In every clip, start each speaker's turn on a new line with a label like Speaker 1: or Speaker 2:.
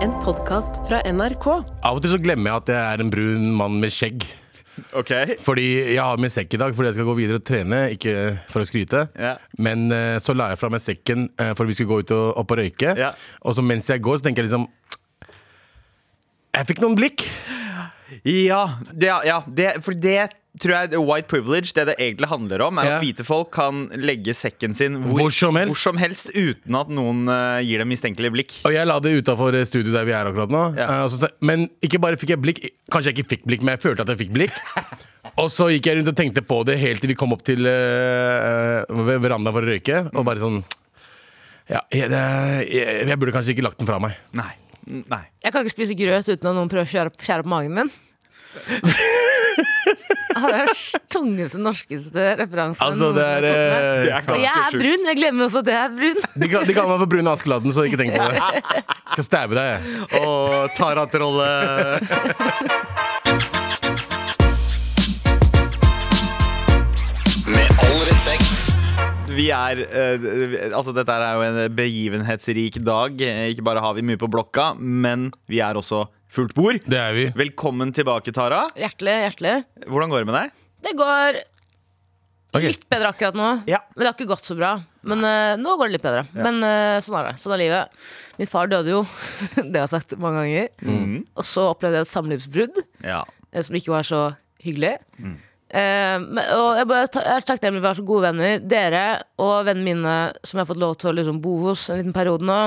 Speaker 1: podkast fra NRK.
Speaker 2: Av og til så glemmer jeg at jeg er en brun mann med skjegg.
Speaker 3: Ok,
Speaker 2: Fordi jeg har med sekk i dag fordi jeg skal gå videre og trene, ikke for å skryte.
Speaker 3: Ja.
Speaker 2: Men eh, så la jeg fra meg sekken eh, for vi skulle gå ut og, opp og røyke.
Speaker 3: Ja.
Speaker 2: Og så mens jeg går, så tenker jeg liksom Jeg fikk noen blikk.
Speaker 3: ja, det, ja det, for det tror jeg er white privilege, det det egentlig handler om, er
Speaker 2: Ja.
Speaker 3: at hvite folk kan legge sekken sin
Speaker 2: Hvor som helst.
Speaker 3: hvor som helst uten at noen eh, gir dem mistenkelige blikk.
Speaker 2: Og jeg la det utafor studioet der vi er akkurat nå.
Speaker 3: Ja.
Speaker 2: Eh, og så te- men ikke bare fikk jeg blikk. Kanskje jeg ikke fikk blikk, men jeg følte at jeg fikk blikk. og så gikk jeg rundt og tenkte på det helt til vi kom opp til eh, eh, ved verandaen for å røyke. Og bare sånn Ja, jeg, det, jeg, jeg burde kanskje ikke lagt den fra meg.
Speaker 3: Nei. Nei.
Speaker 4: Jeg kan ikke spise grøt uten at noen prøver å skjære, skjære på magen min. Ah, det er den tungeste, norskeste referansen.
Speaker 2: Altså,
Speaker 4: jeg
Speaker 2: det
Speaker 4: noensinne
Speaker 2: er,
Speaker 4: har fått med.
Speaker 2: eh,
Speaker 3: Det er
Speaker 4: Og jeg er
Speaker 3: ganske sjukt.
Speaker 4: brun. Jeg glemmer også at jeg er
Speaker 2: de,
Speaker 4: brun.
Speaker 2: kal- de kaller meg for Brune Askeladden, så ikke tenk på det. Skal stabbe deg, jeg.
Speaker 3: Å, Taratrollet.
Speaker 5: Med all respekt.
Speaker 3: Vi er eh, vi- Altså, dette er jo en begivenhetsrik dag. Eh, Ikke bare har vi mye på blokka, men vi er også fullt bord.
Speaker 2: Det er vi.
Speaker 3: Velkommen tilbake, Tara.
Speaker 4: Hjertelig, hjertelig.
Speaker 3: Hvordan går det med deg?
Speaker 4: Det går
Speaker 2: Ok.
Speaker 4: litt bedre akkurat nå.
Speaker 3: Ja.
Speaker 4: Men det har ikke gått så bra. Men eh, nå går det litt bedre. Men eh, sånn er det. Sånn er livet. Min far døde jo. det har jeg sagt mange ganger.
Speaker 2: Mm.
Speaker 4: Og så opplevde jeg et samlivsbrudd.
Speaker 3: Ja.
Speaker 4: eh, som ikke var så hyggelig.
Speaker 6: Mm.
Speaker 4: Eh, men, og jeg, bare, ta- jeg er takknemlig for å være så gode venner. Dere og vennene mine som jeg har fått lov til å liksom, bo hos en liten periode nå.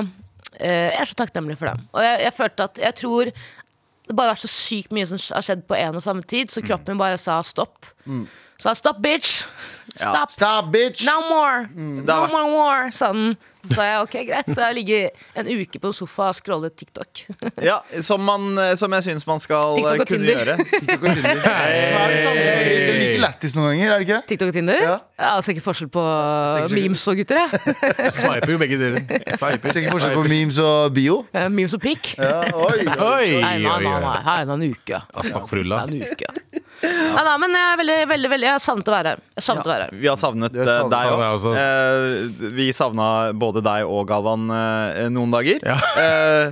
Speaker 4: eh, jeg er så takknemlig for dem. Og jeg, jeg følte at Jeg tror det bare har vært så sykt mye som har skjedd på en og samme tid,
Speaker 6: Mm.
Speaker 4: så kroppen min bare sa stopp. Sa stopp, bitch!
Speaker 3: Ja.
Speaker 4: Stopp!
Speaker 6: Stop, bitch!
Speaker 4: No more!
Speaker 3: Det
Speaker 6: Mm.
Speaker 4: No
Speaker 3: har vært-
Speaker 4: more war! Sa den. Så sa jeg ok, greit. Så jeg ligger en uke på sofa og scroller TikTok.
Speaker 3: Ja, som, man, eh, som jeg syns man skal
Speaker 4: TikTok og
Speaker 3: eh, kunne
Speaker 4: Tinder.
Speaker 3: gjøre.
Speaker 6: Det går tydelig. Som er det samme. Det er like lættis noen ganger, er det ikke?
Speaker 4: TikTok og Tinder?
Speaker 6: Ja.
Speaker 4: Jeg har sikkert altså forskjell på
Speaker 6: Sikkert, sikkert.
Speaker 4: memes og gutter, jeg.
Speaker 2: Sveiper jo begge deler. Sveiper.
Speaker 6: Sikkert forskjell på memes og bio.
Speaker 4: Eh, Memes og pikk?
Speaker 6: Ja, oi,
Speaker 2: Oi,
Speaker 4: Nei, nei,
Speaker 2: oi,
Speaker 4: nei,
Speaker 2: oi.
Speaker 4: nei. Her er en uke.
Speaker 2: Ja, Snakk for ulla.
Speaker 4: Her er En uke. Nei, nei, men jeg er veldig, veldig, veldig Jeg har savnet å være her. Jeg har savnet å være her.
Speaker 3: Vi har savnet
Speaker 6: har savnet-
Speaker 3: eh, deg
Speaker 2: savnet
Speaker 3: også. Eh, vi savna både deg og Galvan eh, noen dager. Eh,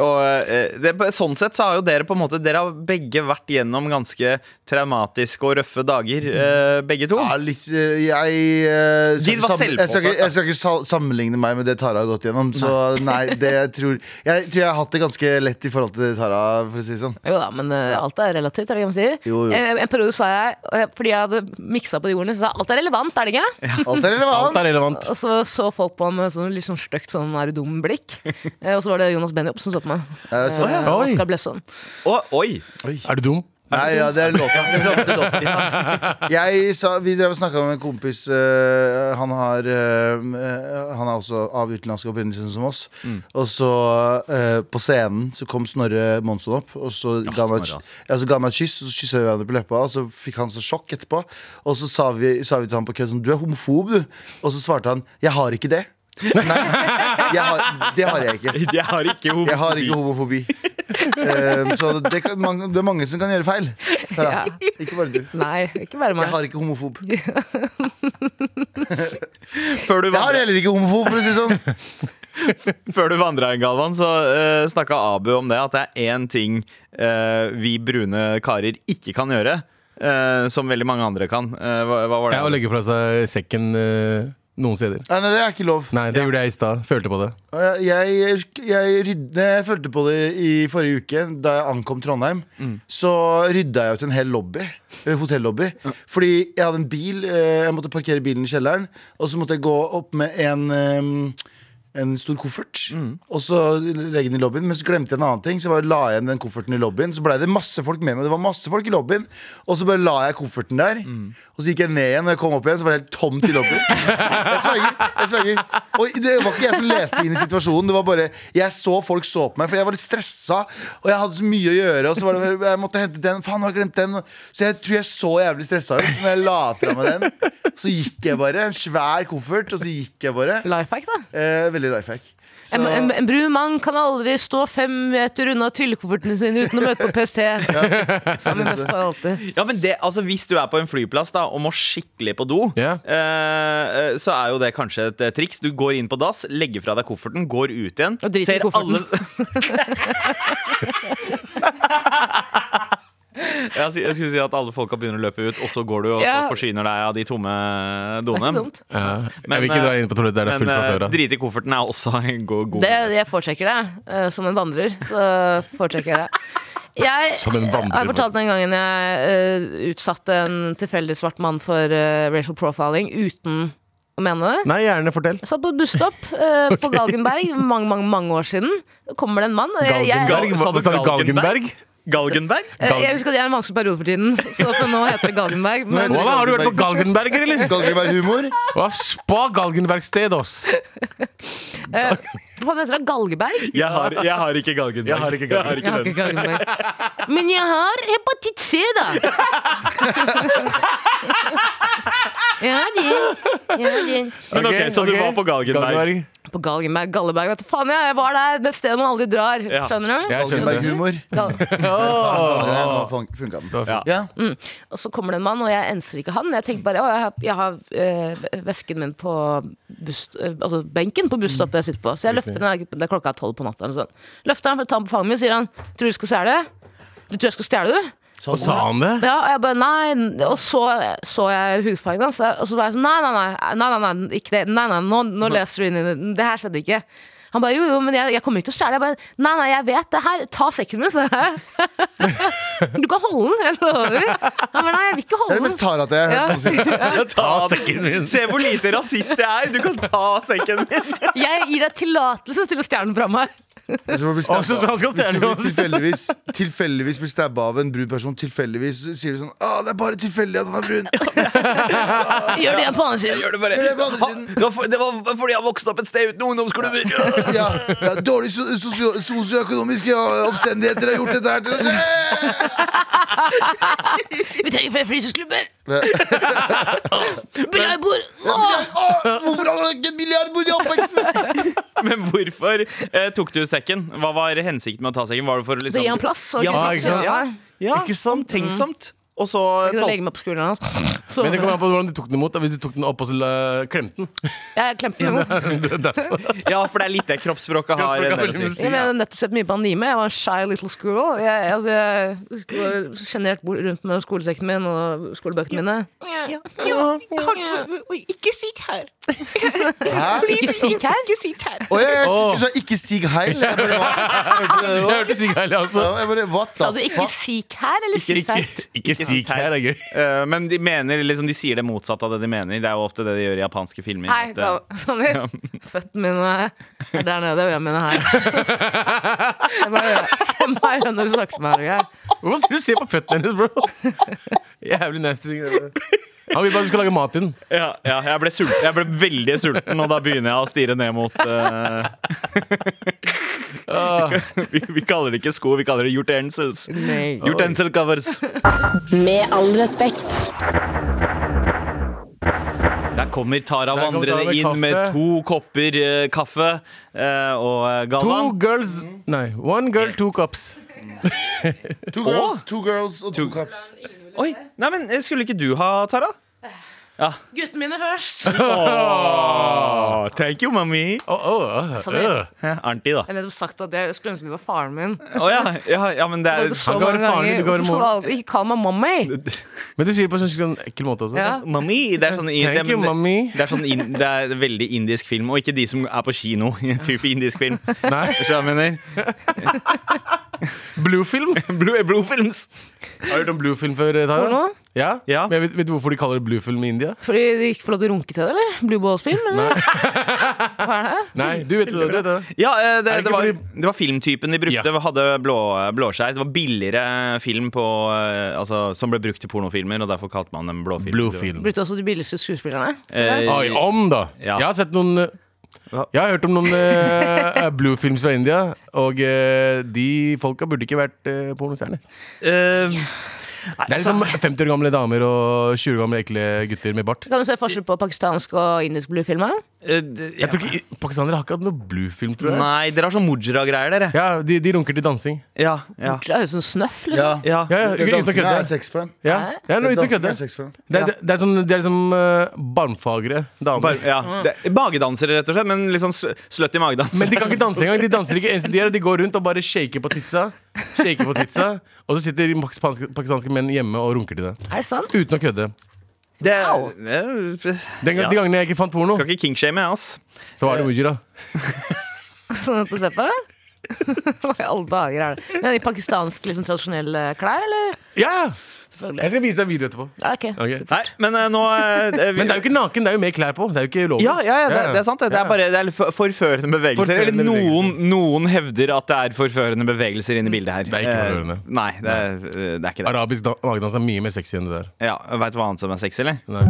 Speaker 3: og eh, det, sånn sett så har jo dere på en måte Dere har begge vært gjennom ganske traumatiske og røffe dager,
Speaker 2: Mm.
Speaker 3: eh, begge to.
Speaker 6: Ja, litt, eh, jeg, eh, skal
Speaker 3: Din
Speaker 6: ikke
Speaker 3: var
Speaker 6: sam- jeg, skal
Speaker 3: selvpåført,
Speaker 6: ikke, jeg skal ikke sa- sammenligne meg med det Tara har gått gjennom. Så nei, det jeg tror Jeg tror jeg har hatt det ganske lett i forhold til Tara. For å si det sånn
Speaker 4: Jo da, men eh, alt er relativt, er det ikke det man sier?
Speaker 6: Jo, jo.
Speaker 4: Eh, En periode sa jeg, eh, fordi jeg hadde miksa på de ordene, så sa jeg alt er relevant, er det ikke?
Speaker 6: Alt er
Speaker 2: Alt
Speaker 6: relevant.
Speaker 2: er relevant.
Speaker 4: Og så så folk på meg med sånn litt sånn stygt sånn er du dum blikk. Eh, Og så var det Jonas Benjob som så på meg.
Speaker 6: Ja, så-
Speaker 4: Eh,
Speaker 2: Oi.
Speaker 4: Oskar Blesson.
Speaker 3: Og, oi!
Speaker 2: Er du dum?
Speaker 6: Nei, ja, det er låta. Det er låta, det er låta. Jeg sa, vi drev og snakka med en kompis. eh, han, har, eh, han er også av utenlandsk opprinnelse som oss. Og så eh, på scenen så kom Snorre Monsson opp, og så ga han meg
Speaker 3: Snorre,
Speaker 6: et,
Speaker 3: ass.
Speaker 6: ja, altså. så ga han meg et kyss. Og så kyssa vi hverandre på leppa, og så fikk han så sjokk etterpå. Og så sa vi, sa vi til han på kødd sånn Du er homofob, du. Og så svarte han Jeg har ikke det. Nei, jeg har, det har jeg ikke.
Speaker 3: Jeg har ikke
Speaker 6: Jeg har ikke homofobi. Eh, så det, kan, man, det er mange som kan gjøre feil. Tara, Ikke bare du.
Speaker 4: Nei, ikke bare
Speaker 6: Jeg
Speaker 4: meg.
Speaker 6: har ikke homofob.
Speaker 3: Før du
Speaker 6: Jeg har
Speaker 3: vandra,
Speaker 6: heller ikke homofob, for å si det sånn.
Speaker 3: før du vandra inn, Galvan, så uh, snakka Abu om det. At det er én ting eh, vi brune karer ikke kan gjøre, eh, som veldig mange andre kan. Eh, hva, hva var det?
Speaker 2: Ja, å legge fra seg sekken eh, noen steder.
Speaker 6: Nei, nei, det er ikke lov.
Speaker 2: Nei, det gjorde jeg i stad. Følte på det.
Speaker 6: Jeg, jeg, jeg, rydde, jeg følte på det i forrige uke, da jeg ankom Trondheim. Så rydda jeg ut en hel lobby. eh, Hotellobby. Fordi jeg hadde en bil. eh, Jeg måtte parkere bilen i kjelleren. Og så måtte jeg gå opp med en eh, en stor koffert, og så legge den i lobbyen. Men så glemte jeg en annen ting, så jeg bare la igjen den kofferten i lobbyen. Så blei det masse folk med meg. Det var masse folk i lobbyen Og så bare la jeg kofferten der. Og så gikk jeg ned igjen, og jeg kom opp igjen, så var det helt tomt i lobbyen. jeg sverger. jeg sverger Og det var ikke jeg som leste inn i situasjonen. Det var bare Jeg så folk så på meg, for jeg var litt stressa, og jeg hadde så mye å gjøre. Og så var det, jeg måtte hente den, faen, nå har jeg glemt den. Så jeg tror jeg så jævlig stressa ut når jeg la fra meg den. Så gikk jeg bare. En svær koffert, og så gikk jeg bare.
Speaker 4: Lifehack, da.
Speaker 6: Eh, veldig life hack.
Speaker 4: En, en, en brun mann kan aldri stå fem meter unna trillekoffertene sine uten å møte på PST. Sammen med oss for alltid.
Speaker 3: Ja, men det, altså Hvis du er på en flyplass da og må skikkelig på do,
Speaker 2: Ja.
Speaker 3: eh, så er jo det kanskje et eh, triks. Du går inn på dass, legger fra deg kofferten, går ut igjen.
Speaker 4: Og driter i kofferten.
Speaker 3: jeg, si- jeg skulle si at alle folka begynner å løpe ut, og så går du og
Speaker 4: Ja.
Speaker 3: så forsyner deg av de tomme
Speaker 4: Det er
Speaker 3: doene.
Speaker 4: ikke dumt.
Speaker 2: Sånn, Ja.
Speaker 3: Men,
Speaker 2: jeg vil ikke dra
Speaker 3: eh,
Speaker 2: inn på toalettet der det er fullt fra
Speaker 3: eh,
Speaker 2: før av.
Speaker 3: drite i kofferten er også en god, god
Speaker 4: Det, jeg foretrekker det. eh, Som en vandrer, så foretrekker jeg det. Jeg
Speaker 2: Som en vandrer,
Speaker 4: har fortalt den gangen jeg eh, utsatte en tilfeldig svart mann for eh, racial profiling uten å mene det.
Speaker 2: Nei, gjerne fortell.
Speaker 4: Jeg satt på et busstopp eh, på Galgenberg mange, mange, mange år siden. Kommer det en mann og jeg, jeg,
Speaker 3: Galgenberg?
Speaker 2: Galgenberg?
Speaker 3: Sa du
Speaker 2: Sa du
Speaker 3: Galgenberg?
Speaker 2: Galgenberg?
Speaker 3: Galgenberg?
Speaker 4: Eh, jeg husker at jeg er i en vanskelig periode for tiden, så for nå heter det Galgenberg. Men
Speaker 2: Voilà, har du vært på Galgenberger, eller?
Speaker 6: Galgenberg-humor.
Speaker 2: Hva spa Galgenbergsted, ass!
Speaker 4: eh, hva heter det? Galgeberg?
Speaker 3: Jeg har, jeg har ikke Galgenberg.
Speaker 2: Jeg har ikke Galgenberg.
Speaker 4: Jeg har ikke Galgenberg. Men jeg har hepatitt C, da! Ja, det. Ja, det.
Speaker 3: Men ok, Så du
Speaker 2: ok.
Speaker 3: var på Galgenberg.
Speaker 4: På Galgenberg, Galleberg, vet du faen jeg, jeg var der. Det stedet man aldri drar.
Speaker 3: Ja.
Speaker 4: Skjønner du?
Speaker 2: Jeg skjønner det.
Speaker 6: Galgenberg-humor.
Speaker 4: Gal
Speaker 6: Ja, nå fun- funka den.
Speaker 2: Ja.
Speaker 6: Ja.
Speaker 4: Og så kommer det en mann, og jeg enser ikke han. Jeg tenker bare, å, jeg har, jeg har eh, vesken min på buss, eh, altså benken på busstoppet jeg sitter på. Så jeg løfter den, der- det er klokka er tolv på natta. eller Sånn. Løfter han for å ta den på fanget mitt, sier han, tror du du skal stjele? Du tror jeg skal stjele, du?
Speaker 2: Og sa han det?
Speaker 4: Ja, og jeg bare, nei, og så så jeg hudfargen hans, og så var jeg sånn, nei, nei, nei, nei, nei, nei ikke det, nei, nei, nå, nå leser du inn i det, det her skjedde ikke. Han bare, jo, jo, men jeg, jeg kommer ikke til å stjele. Jeg bare, nei, nei, jeg vet det her, ta sekken min, så jeg. Du kan holde den, jeg lover. Han bare, nei, jeg vil ikke
Speaker 6: Det
Speaker 4: holde
Speaker 6: er det
Speaker 4: den.
Speaker 6: mest tarete jeg har hørt. noensinne.
Speaker 3: Ta
Speaker 2: sekken min.
Speaker 3: Se hvor lite rasist jeg er! Du kan ta sekken min.
Speaker 4: Jeg gir deg tillatelse til å stjerne fra meg.
Speaker 6: Hvis du blir
Speaker 2: Og så- så han skal
Speaker 6: stabba- Hvis du
Speaker 2: stjerne
Speaker 6: blir
Speaker 2: uansett.
Speaker 6: tilfeldigvis, tilfeldigvis blir stabba av en brun person, tilfeldigvis så sier du sånn Å, det er bare tilfeldig at han er brun.
Speaker 4: Gjør det igjen på andre siden.
Speaker 3: Gjør det bare.
Speaker 6: Gjør det på andre
Speaker 3: Ha-
Speaker 6: siden.
Speaker 3: det var for- det var fordi jeg vokste opp et sted uten ungdomsklubber.
Speaker 6: Ja, ja, dårlig so- sosio- sosioøkonomiske ja, omstendigheter har gjort dette her til oss.
Speaker 4: Vi trenger flere frysesklubber.
Speaker 6: Ja.
Speaker 4: Biljardbord. Åh!
Speaker 6: Å, Hvorfor hadde han ikke en milliardbord i oppveksten?
Speaker 3: Men hvorfor eh, tok du sekken? Hva var hensikten med å ta sekken? Var det for å
Speaker 4: Så
Speaker 3: liksom
Speaker 4: gir han plass. og
Speaker 3: Ja,
Speaker 2: ikke sant?
Speaker 4: Ja.
Speaker 3: Ja, ikke sant? Tenksomt. Og så
Speaker 4: Jeg kunne legge meg på skulderen hans. Så-
Speaker 2: Men det kommer an på hvordan du tok den imot. da. Hvis du tok den opp og så la- klemte den.
Speaker 4: Jeg klemte den.
Speaker 3: Ja, for det er litt det kroppsspråket har.
Speaker 2: Kroppsspråket
Speaker 3: en
Speaker 2: har
Speaker 3: del å si.
Speaker 2: veldig mye å si.
Speaker 4: Jeg mener nettopp sett mye på anime. Jeg var en shy little squirrel. Jeg, altså, jeg går sjenert bort- rundt med skolesekken min og skolebøkene mine.
Speaker 1: Ikke sitt her.
Speaker 6: Hæ?
Speaker 4: Ikke syk her.
Speaker 1: Ikke sitt her.
Speaker 6: Å, jeg, jeg synes du sa 'ikke sig heil'. Jeg bare, hva? Hørte du det
Speaker 2: Jeg hørte Sig
Speaker 6: også?
Speaker 2: Heil, jeg også.
Speaker 6: Ja, jeg bare, what
Speaker 4: Sa du
Speaker 6: the
Speaker 4: ikke
Speaker 6: fuck?
Speaker 4: syk her, eller syk her?
Speaker 2: Ikke Sig Heil er gøy.
Speaker 3: Eh, Men de mener liksom De sier det motsatte av det de mener. Det er jo ofte det de gjør i japanske filmer.
Speaker 4: Hei,
Speaker 3: at, eh,
Speaker 4: Sanner. Føttene mine er der nede, og øynene mine er her. Jeg bare gjør- Se meg i øynene når du snakker til meg. Roger.
Speaker 2: Hvorfor skal du se på føttene hennes, bro? Jævlig nasty ting. det der. Han vil bare at du skal lage mat til den.
Speaker 3: ja, ja, jeg ble sulten. Jeg ble veldig sulten, og da begynner jeg å stirre ned mot eh, Ah. vi, vi kaller det ikke sko, vi kaller det utensils.
Speaker 4: Nei.
Speaker 3: Utensil covers.
Speaker 7: Med all respekt.
Speaker 3: Der kommer Tara
Speaker 2: Der kommer Tara
Speaker 3: vandrende
Speaker 2: med
Speaker 3: inn med
Speaker 2: kaffe.
Speaker 3: to kopper eh, kaffe. eh, og eh,
Speaker 2: To
Speaker 3: Galvan
Speaker 2: girls Mm. Nei, one girl, two cups.
Speaker 6: Two girls, two girls og two cups.
Speaker 3: Oi, nei, men eh, Skulle ikke du ha, Tara?
Speaker 4: Guttene mine først.
Speaker 3: Ah, thank you, mommy.
Speaker 2: Å, å, å,
Speaker 4: Sorry.
Speaker 2: øh.
Speaker 3: Ja, Eh, Auntie, da.
Speaker 4: Jeg har nettopp sagt at jeg skulle ønske du var faren min.
Speaker 3: Å ja, ja, ja, men det
Speaker 4: Jeg
Speaker 3: er
Speaker 4: har sagt det så
Speaker 2: kan være
Speaker 4: mange
Speaker 2: faren din,
Speaker 4: ganger.
Speaker 2: du kan være
Speaker 4: Hvorfor skal du aldri- Ikke kall meg mommy.
Speaker 2: Men du sier det på en sånn ekkel måte også.
Speaker 4: Ja.
Speaker 3: Mami, det er sånn det-
Speaker 2: Thank you,
Speaker 3: det-
Speaker 2: mommy.
Speaker 3: Det er sånn in, det er veldig indisk film, og ikke de som er på kino. Type indisk film.
Speaker 2: Nei,
Speaker 3: Skjønner du hva jeg mener?
Speaker 2: Bluefilm.
Speaker 3: Blue, blue films.
Speaker 2: Har du hørt om bluefilm før, eh, Tara?
Speaker 4: Porno?
Speaker 2: Ja?
Speaker 3: Ja.
Speaker 2: Men jeg vet, vet du hvorfor de kaller det bluefilm i India?
Speaker 4: Fordi de ikke får lov til å runke til det, eller? Blue Balls-film, eller? Hva er det?
Speaker 2: Nei, du vet, du vet det.
Speaker 3: Ja,
Speaker 2: Er
Speaker 3: eh, det,
Speaker 2: det
Speaker 3: det,
Speaker 2: ikke
Speaker 3: var,
Speaker 2: fordi-
Speaker 3: det var filmtypen de brukte.
Speaker 2: Ja.
Speaker 3: Hadde blå, blåskjær. Det var billigere film på, eh, altså, som ble brukt til pornofilmer, og derfor kalte man dem blåfilm.
Speaker 2: Bluefilm.
Speaker 4: Brukte også de billigste skuespillerne. Så det-
Speaker 3: Eh,
Speaker 2: Oi, om da
Speaker 3: Ja.
Speaker 2: Jeg har sett noen eh, Jeg har hørt om noen eh, bluefilms fra eh, India Og eh, de folka burde ikke vært uh, pornostjerner
Speaker 3: eh,
Speaker 2: Det er liksom 50 år gamle damer og 20 år gamle ekle gutter med bart.
Speaker 4: Kan du se forskjell på pakistansk og indisk bluefilmer?
Speaker 3: Eh, d- ja.
Speaker 2: Jeg tror ikke, Pakistanere har ikke hatt noe bluefilm, tror jeg.
Speaker 3: Nei, dere har sånn mujra-greier, dere.
Speaker 2: Ja, de, de runker til dansing.
Speaker 3: Ja, ja,
Speaker 4: Det er jo sånn snøff, liksom.
Speaker 6: Ja.
Speaker 3: ja.
Speaker 2: Ja, ja, uten å
Speaker 6: Dansinga
Speaker 2: kødde.
Speaker 6: er sex for dem.
Speaker 2: Ja, ja nå, uten å
Speaker 6: Dansinga
Speaker 2: kødde.
Speaker 6: er sex for dem.
Speaker 2: Det, er- det er som, det er som eh, barmfagre damer.
Speaker 3: Bare, ja. Det, magedansere, rett og slett, men litt sånn sl- sløtt i magedanser.
Speaker 2: Men de kan ikke danse engang. De danser ikke eneste de gjør. De går rundt og bare shaker på titsa. Shaker på titsa Og så sitter maks pakistanske pakistanske menn hjemme og runker til det.
Speaker 4: Er det sant?
Speaker 2: Uten å kødde.
Speaker 3: det,
Speaker 4: Au.
Speaker 3: det,
Speaker 2: Den,
Speaker 3: Ja.
Speaker 2: De gangene jeg ikke fant porno,
Speaker 3: Skal ikke kinkshame, jeg, ass.
Speaker 2: så var det Mujira.
Speaker 4: Sånn at du ser på det? Hva i alle dager er det? Men I pakistanske liksom, tradisjonelle klær, eller?
Speaker 2: Ja! Jeg
Speaker 4: Selvfølgelig.
Speaker 2: skal vise deg en video etterpå.
Speaker 4: Ja, ok.
Speaker 2: Ok.
Speaker 3: Nei, men eh, nå eh, vi-
Speaker 2: Men det er jo ikke naken, det er jo mer klær på. Det er jo ikke lov.
Speaker 3: ja, ja, ja, det, det er sant. Det, det
Speaker 2: Ja.
Speaker 3: er bare det er litt for- forførende bevegelser.
Speaker 2: Forførende
Speaker 3: Eller noen, noen hevder at det er forførende bevegelser inne i bildet her.
Speaker 2: Det er ikke
Speaker 3: Eh,
Speaker 2: forførende.
Speaker 3: Nei, det er, eh, det er ikke det.
Speaker 2: Arabisk da- magedans er mye mer sexy enn det der.
Speaker 3: Ja, Veit du hva annet som er sexy, eller?
Speaker 2: Nei.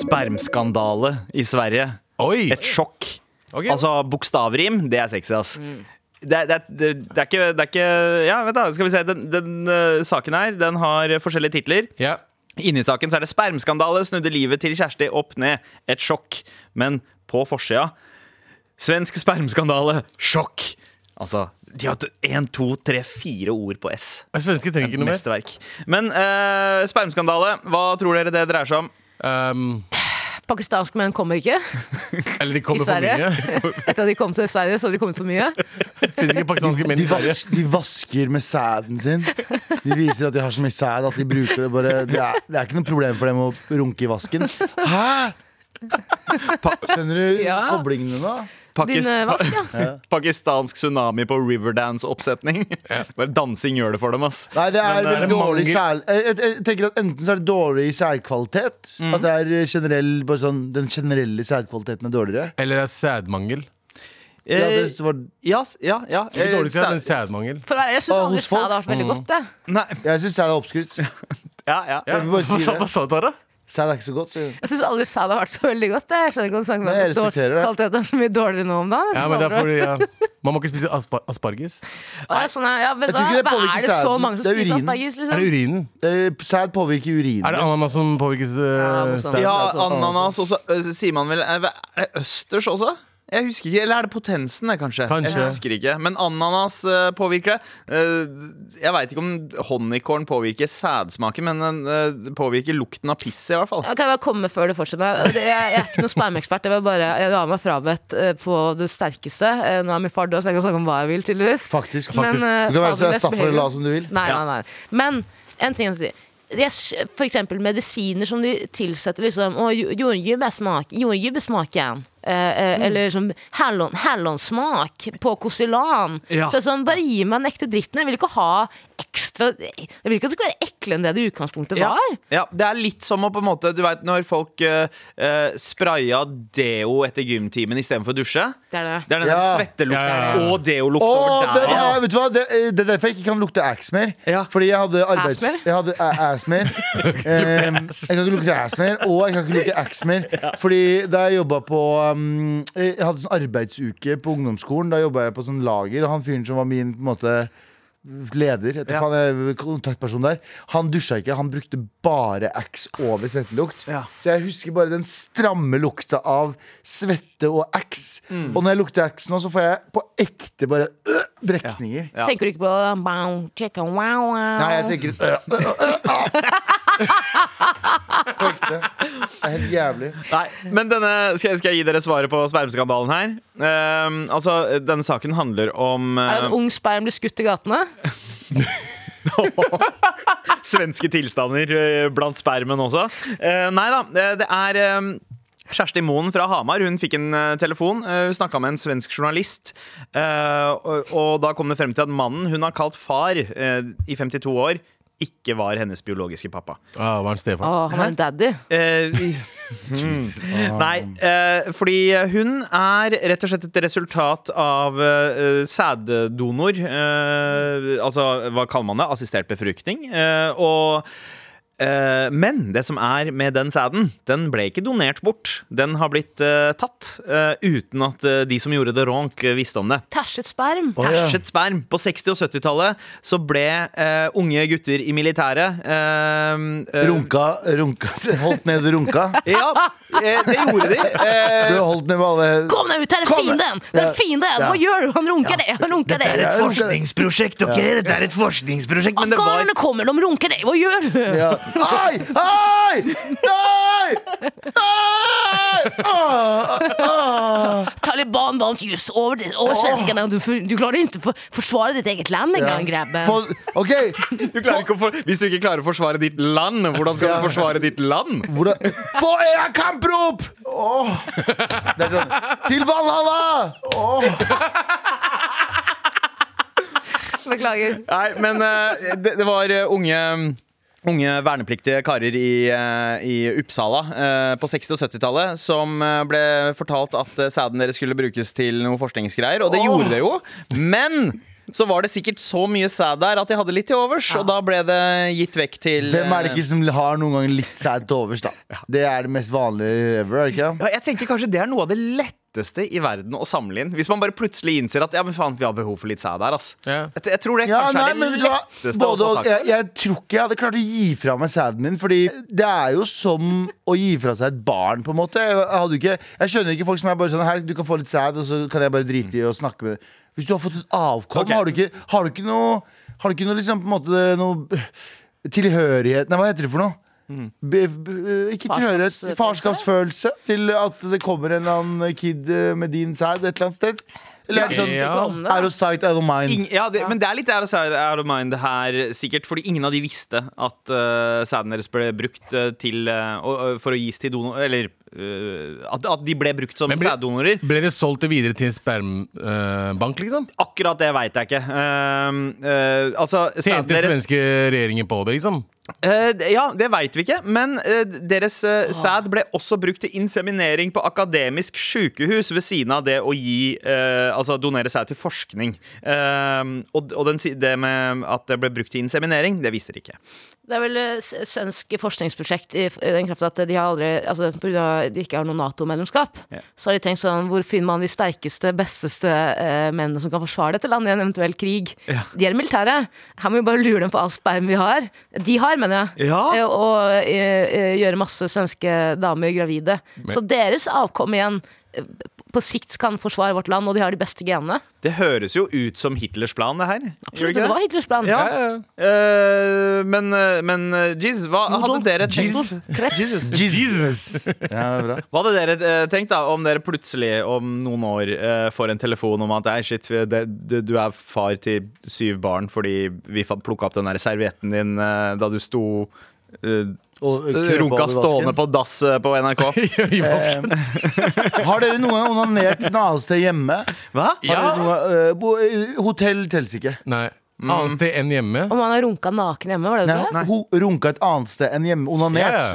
Speaker 3: Spermskandale i Sverige.
Speaker 2: Oi!
Speaker 3: Et sjokk.
Speaker 2: Ok.
Speaker 3: Altså, bokstavrim, det er sexy, ass. Det, er- det, er- det, det, er ikke, det er ikke Ja, vet du, skal vi se. Den, den eh, saken her, den har forskjellige titler.
Speaker 2: ja.
Speaker 3: Inni saken så er det spermskandale snudde livet til Kjersti opp ned. Et sjokk. Men på forsida Svensk spermskandale. Sjokk! Altså, de har hatt én, to, tre, fire ord på S.
Speaker 2: Svensker trenger ikke noe mer.
Speaker 3: Mesterverk. Men eh, spermskandale, hva tror dere det dreier seg om?
Speaker 2: Um,
Speaker 4: Pakistanske menn kommer ikke.
Speaker 2: eller de
Speaker 4: I
Speaker 2: kommer for
Speaker 4: Sverige.
Speaker 2: mye.
Speaker 4: Etter at de kom til Sverige, så hadde de kommet for mye. eh,
Speaker 2: Fins ikke pakistanske menn
Speaker 6: De,
Speaker 2: i Sverige.
Speaker 6: vas de vasker med sæden sin. De viser at de har så mye sæd at de bruker det bare Det er, det er ikke noe problem for dem å runke i vasken. Hæ?! Skjønner du
Speaker 4: Ja.
Speaker 6: koblingene nå?
Speaker 3: Pakis-
Speaker 4: Din eh, vask, ja.
Speaker 3: Pakistansk tsunami på Riverdance-oppsetning. Bare dansing gjør det for dem, ass.
Speaker 6: Nei, det er
Speaker 3: Men, eh,
Speaker 6: veldig dårlig
Speaker 2: mangel-
Speaker 6: sæl... Jeg, jeg, jeg tenker at Enten så er det dårlig sædkvalitet. At det er generell, bare sånn, den generelle sædkvaliteten er dårligere.
Speaker 2: Eller er sædmangel.
Speaker 3: Eh,
Speaker 6: Ja, det var,
Speaker 3: ja, s- ja, ja.
Speaker 2: Ikke
Speaker 3: Eh,
Speaker 2: dårlig sæd, men
Speaker 3: sa-
Speaker 2: sædmangel.
Speaker 4: For å være ærlig, jeg syns
Speaker 6: Ah,
Speaker 4: aldri
Speaker 6: hos
Speaker 4: sa det
Speaker 6: folk?
Speaker 4: har vært veldig godt. Det.
Speaker 3: Nei,
Speaker 6: jeg syns sæd er oppskrytt.
Speaker 3: ja, ja.
Speaker 2: Ja.
Speaker 6: vil bare si
Speaker 2: Hva sa-
Speaker 6: det.
Speaker 2: hva sa du, Tara?
Speaker 6: Sæd er ikke så godt. Så.
Speaker 4: Jeg syns aldri sa det har vært så veldig godt. Det. Jeg skjønner ikke hva du snakker om.
Speaker 6: Nei, jeg
Speaker 4: at
Speaker 6: respekterer det.
Speaker 4: Kvaliteten er så mye dårligere nå om dagen.
Speaker 2: Ja, men det er fordi ja. Man må ikke spise aspar asparges.
Speaker 4: Å, ja, sånn er, ja, vet du hva?
Speaker 6: Jeg tror ikke det
Speaker 4: Hva
Speaker 6: påvirker
Speaker 4: er det så
Speaker 6: sæden.
Speaker 4: mange som
Speaker 6: Det er
Speaker 4: spiser
Speaker 6: urinen.
Speaker 4: aspergis?
Speaker 2: Er
Speaker 4: Liksom?
Speaker 2: det urinen?
Speaker 6: Eh, Sæd påvirker urinen.
Speaker 2: Er det ananas som påvirkes?
Speaker 4: Ja,
Speaker 2: Uh,
Speaker 4: noe sånt.
Speaker 2: sæd?
Speaker 3: Ja,
Speaker 6: altså,
Speaker 3: ananas også. Ø, Sier man vel Er er det østers også? Jeg husker ikke, Eller er det potensen, det, kanskje?
Speaker 2: Kanskje.
Speaker 3: Jeg husker ikke, Men ananas ø, påvirker det. Eh, Jeg veit ikke om honningkorn påvirker sædsmaken, men eh, det påvirker lukten av piss, i hvert fall.
Speaker 4: Ja, Kan jeg bare komme før det fortsetter? Jeg, jeg er ikke noen spermeekspert. Jeg var bare, jeg har meg frabedt eh, på det sterkeste. Eh, Nå er min far død, så jeg kan snakke om hva jeg vil, tydeligvis.
Speaker 6: Faktisk.
Speaker 4: Men, eh,
Speaker 6: du kan være så
Speaker 4: fader, det er
Speaker 6: Stafford
Speaker 4: behagelig.
Speaker 6: la som du vil.
Speaker 4: Nei,
Speaker 3: Ja.
Speaker 4: nei, nei. Men en ting jeg skal si. Jeg- for eksempel medisiner som de tilsetter liksom Å, jo- jordgubbesmak. Jordgubbesmaken. Eh,
Speaker 3: Mm.
Speaker 4: eh, Eller liksom hallon- hallonsmak på Kosilan.
Speaker 3: Ja.
Speaker 4: Så det er sånn, bare gi meg den ekte dritten. Jeg vil ikke ha ekstra Jeg vil ikke at det skal være eklere enn det det i utgangspunktet
Speaker 3: Ja,
Speaker 4: var.
Speaker 3: ja, Det er litt som å på en måte Du vet når folk uh, spraya deo etter gymtimen istedenfor å dusje.
Speaker 4: Det er det.
Speaker 3: Det er den
Speaker 6: Ja.
Speaker 3: der svettelukten
Speaker 2: Ja, ja, ja.
Speaker 3: og deolukt
Speaker 6: Åh,
Speaker 3: over
Speaker 6: det,
Speaker 3: der.
Speaker 6: det, er- vet du hva? Det, er- det er derfor jeg ikke kan lukte ass mer.
Speaker 3: Ja.
Speaker 6: Fordi jeg hadde
Speaker 4: Ass
Speaker 6: arbeids...
Speaker 4: mer?
Speaker 6: Jeg hadde a- ass mer. Em, jeg kan ikke lukte ass mer, og jeg kan ikke lukte ax mer. Fordi da jeg jobba på um, Jeg hadde sånn arbeidsuke på ungdomsskolen. Da jobba jeg på sånn lager, og han fyren som var min på en måte leder, etter
Speaker 3: Ja.
Speaker 6: faen jeg- kontaktperson der, han dusja ikke. Han brukte bare ax over svettelukt.
Speaker 3: Ja.
Speaker 6: Så jeg husker bare den stramme lukta av svette og ax.
Speaker 3: Mm.
Speaker 6: Og når jeg lukter ax nå, så får jeg på ekte bare øh, brekninger.
Speaker 3: Ja.
Speaker 4: Tenker du ikke på wow, chicken, wow, wow.
Speaker 6: Nei, jeg tenker øh, øh, øh, øh. På ekte. Det er helt jævlig.
Speaker 3: Nei, men denne, skal, jeg, skal jeg gi dere svaret på spermskandalen her? Ehm, altså, Denne saken handler om
Speaker 4: Er det en
Speaker 3: eh,
Speaker 4: ung sperm blir skutt i gatene?
Speaker 3: eh, svenske tilstander eh, blant spermen også. Eh, nei da, eh, det er eh, Kjersti Moen fra Hamar hun fikk en eh, telefon. Eh, Hun snakka med en svensk journalist. eh, og, og da kom det frem til at mannen hun har kalt far eh, i 52 år, ikke var hennes biologiske pappa.
Speaker 2: Ah, var han
Speaker 4: Å,
Speaker 2: Stefan?
Speaker 4: han er en daddy.
Speaker 3: Eh, Nei, eh, fordi hun er rett og slett et resultat av eh, sæddonor. Eh, altså, hva kaller man det? Assistert befruktning. Eh, og Eh, men det som er med den sæden, den ble ikke donert bort. Den har blitt eh, tatt eh, uten at eh, de som gjorde det ronk, eh, visste om det.
Speaker 4: Tæsjet sperm.
Speaker 6: Å, ja.
Speaker 3: Tæsjet sperm. På 60- og 70-tallet så ble eh, unge gutter i militæret eh, eh,
Speaker 6: Runka, runka Holdt ned runka.
Speaker 3: Ja, eh, det gjorde de. Eh,
Speaker 6: Ble holdt ned med alle
Speaker 4: Kom deg ut, her er
Speaker 6: Kom deg-
Speaker 4: fienden! Det
Speaker 6: Ja.
Speaker 4: er fienden!
Speaker 6: Ja.
Speaker 4: Hva gjør du? Han runker deg! Han runker
Speaker 3: det er
Speaker 4: deg!
Speaker 3: et forskningsprosjekt, ok? Dette er et forskningsprosjekt, men det var
Speaker 4: Afghanerne kommer, de runker deg! Hva gjør du?
Speaker 6: ja. Ai! Ai! Nei! Nei! Ah! Ah!
Speaker 4: Taliban vant just over, de- over svenskene, og du, for- du klarer ikke å for, forsvare ditt eget land engang, grabben.
Speaker 6: Få- OK,
Speaker 3: Du klarer ikke å for, Hvis du ikke klarer å forsvare ditt land, hvordan skal du forsvare ditt land?
Speaker 6: hvordan Få era kamprop! Åh Det er sånn Til Valhalla! Åh
Speaker 4: Beklager.
Speaker 3: Nei, men eh, det, det var eh, unge Unge vernepliktige karer i, eh, i Uppsala eh, på 60- og 70-tallet som eh, ble fortalt at eh, sæden deres skulle brukes til noe forskningsgreier, og det gjorde det jo. Men så var det sikkert så mye sæd der at de hadde litt til overs, og da ble det gitt vekk til
Speaker 6: Hvem er det
Speaker 3: eh,
Speaker 6: ikke som har noen gang litt sæd til overs, da? Det er det mest vanlige ever, er det ikke?
Speaker 3: Ja, jeg tenker kanskje det er noe av det letteste i verden å samle inn. Hvis man bare plutselig innser at ja, men faen, vi har behov for litt sæd her, ass.
Speaker 2: Ja.
Speaker 3: Jeg, jeg tror det
Speaker 6: Ja,
Speaker 3: kanskje
Speaker 6: nei,
Speaker 3: er
Speaker 6: men
Speaker 3: det
Speaker 6: vet du hva?
Speaker 3: letteste
Speaker 6: Både,
Speaker 3: å få
Speaker 6: og-
Speaker 3: tak i.
Speaker 6: jeg, jeg tror ikke jeg hadde klart å gi fra meg sæden min, Fordi det er jo som å gi fra seg et barn, på en måte. Jeg, hadde jo ikke, jeg skjønner ikke folk som er bare sånn Her, du kan få litt sæd, og så kan jeg bare drite i å snakke med deg. Hvis du har fått et avkom,
Speaker 3: Ok.
Speaker 6: har, du ikke, har du ikke noe Har du ikke noe liksom på en måte noe tilhørighet Nei, hva heter det for noe?
Speaker 3: Mm.
Speaker 6: Be, be, ikke tilhørighet.
Speaker 4: Farskapsfølelse?
Speaker 6: Farskapsfølelse til at det kommer en eller annen kid eh, med din sæd et eller annet sted. Eller er det sånn
Speaker 2: Ja.
Speaker 6: Out of sight, out of mind.
Speaker 3: Ing- ja, det, men det er litt out of sight, out of mind her, sikkert. Fordi ingen av de visste at uh, sæden deres ble brukt eh, til eh, å- å- For å gis til donor... Eller eh, at, at de ble brukt som
Speaker 2: Men ble-
Speaker 3: sæddonorer.
Speaker 2: Ble det solgt det videre til en spermbank, liksom?
Speaker 3: Akkurat det veit jeg ikke. Eh, eh, altså, sæden
Speaker 2: Tjente den
Speaker 3: deres
Speaker 2: svenske regjeringen på det, liksom?
Speaker 3: Eh, d- ja, det veit vi ikke, men eh, deres eh, sæd ble også brukt til inseminering på akademisk sykehus ved siden av det å gi eh, Altså donere sæd til forskning. Eh, og og den, si- det med at det ble brukt til inseminering, det viser ikke.
Speaker 4: Det er vel eh, s- et svensk forskningsprosjekt i f- i den kraft at de har aldri altså, På grunn av at de ikke har noe Nato-medlemskap, så har de tenkt sånn Hvor finner man de sterkeste, besteste eh, mennene som kan forsvare dette landet i en eventuell krig? De er militære. Her må vi bare lure dem på all sperm vi har. De har, mener jeg.
Speaker 3: Ja.
Speaker 4: Eh, Og eh, eh, gjøre masse svenske damer gravide. Så deres avkom igjen eh, på sikt kan forsvare vårt land, og de har de beste genene.
Speaker 3: Det høres jo ut som Hitlers plan, det her. Gjør
Speaker 4: Absolutt,
Speaker 3: ikke
Speaker 4: det var
Speaker 3: det?
Speaker 4: Hitlers plan.
Speaker 3: Ja, eh, men, eh, men eh, Jeez, hva hadde
Speaker 4: Nodel,
Speaker 3: dere tenkt?
Speaker 4: nodel, kreps.
Speaker 3: Jesus.
Speaker 6: Jesus! Ja, det er bra.
Speaker 3: Hva hadde dere eh, tenkt da, om dere plutselig om noen år eh, får en telefon om at «Ei, shit, vi- det, du, du er far til syv barn fordi vi plukka opp den der servietten din eh, da du sto eh,
Speaker 6: Og
Speaker 3: st-
Speaker 6: klør på
Speaker 3: runka
Speaker 6: over vasken.
Speaker 3: stående på dass eh, på NRK.
Speaker 2: I vasken.
Speaker 6: Har dere noen gang onanert et annet sted hjemme?
Speaker 3: Hva?
Speaker 6: Har
Speaker 3: Ja.
Speaker 6: dere noen gang, øh, bo, øh, hotell telles ikke.
Speaker 2: Nei.
Speaker 3: Mm.
Speaker 2: Annet sted enn hjemme.
Speaker 3: Altså,
Speaker 4: Om han har runka naken hjemme, var det
Speaker 6: Nei,
Speaker 4: det? du sa?
Speaker 6: Ho, runka et annet sted enn hjemme. Onanert.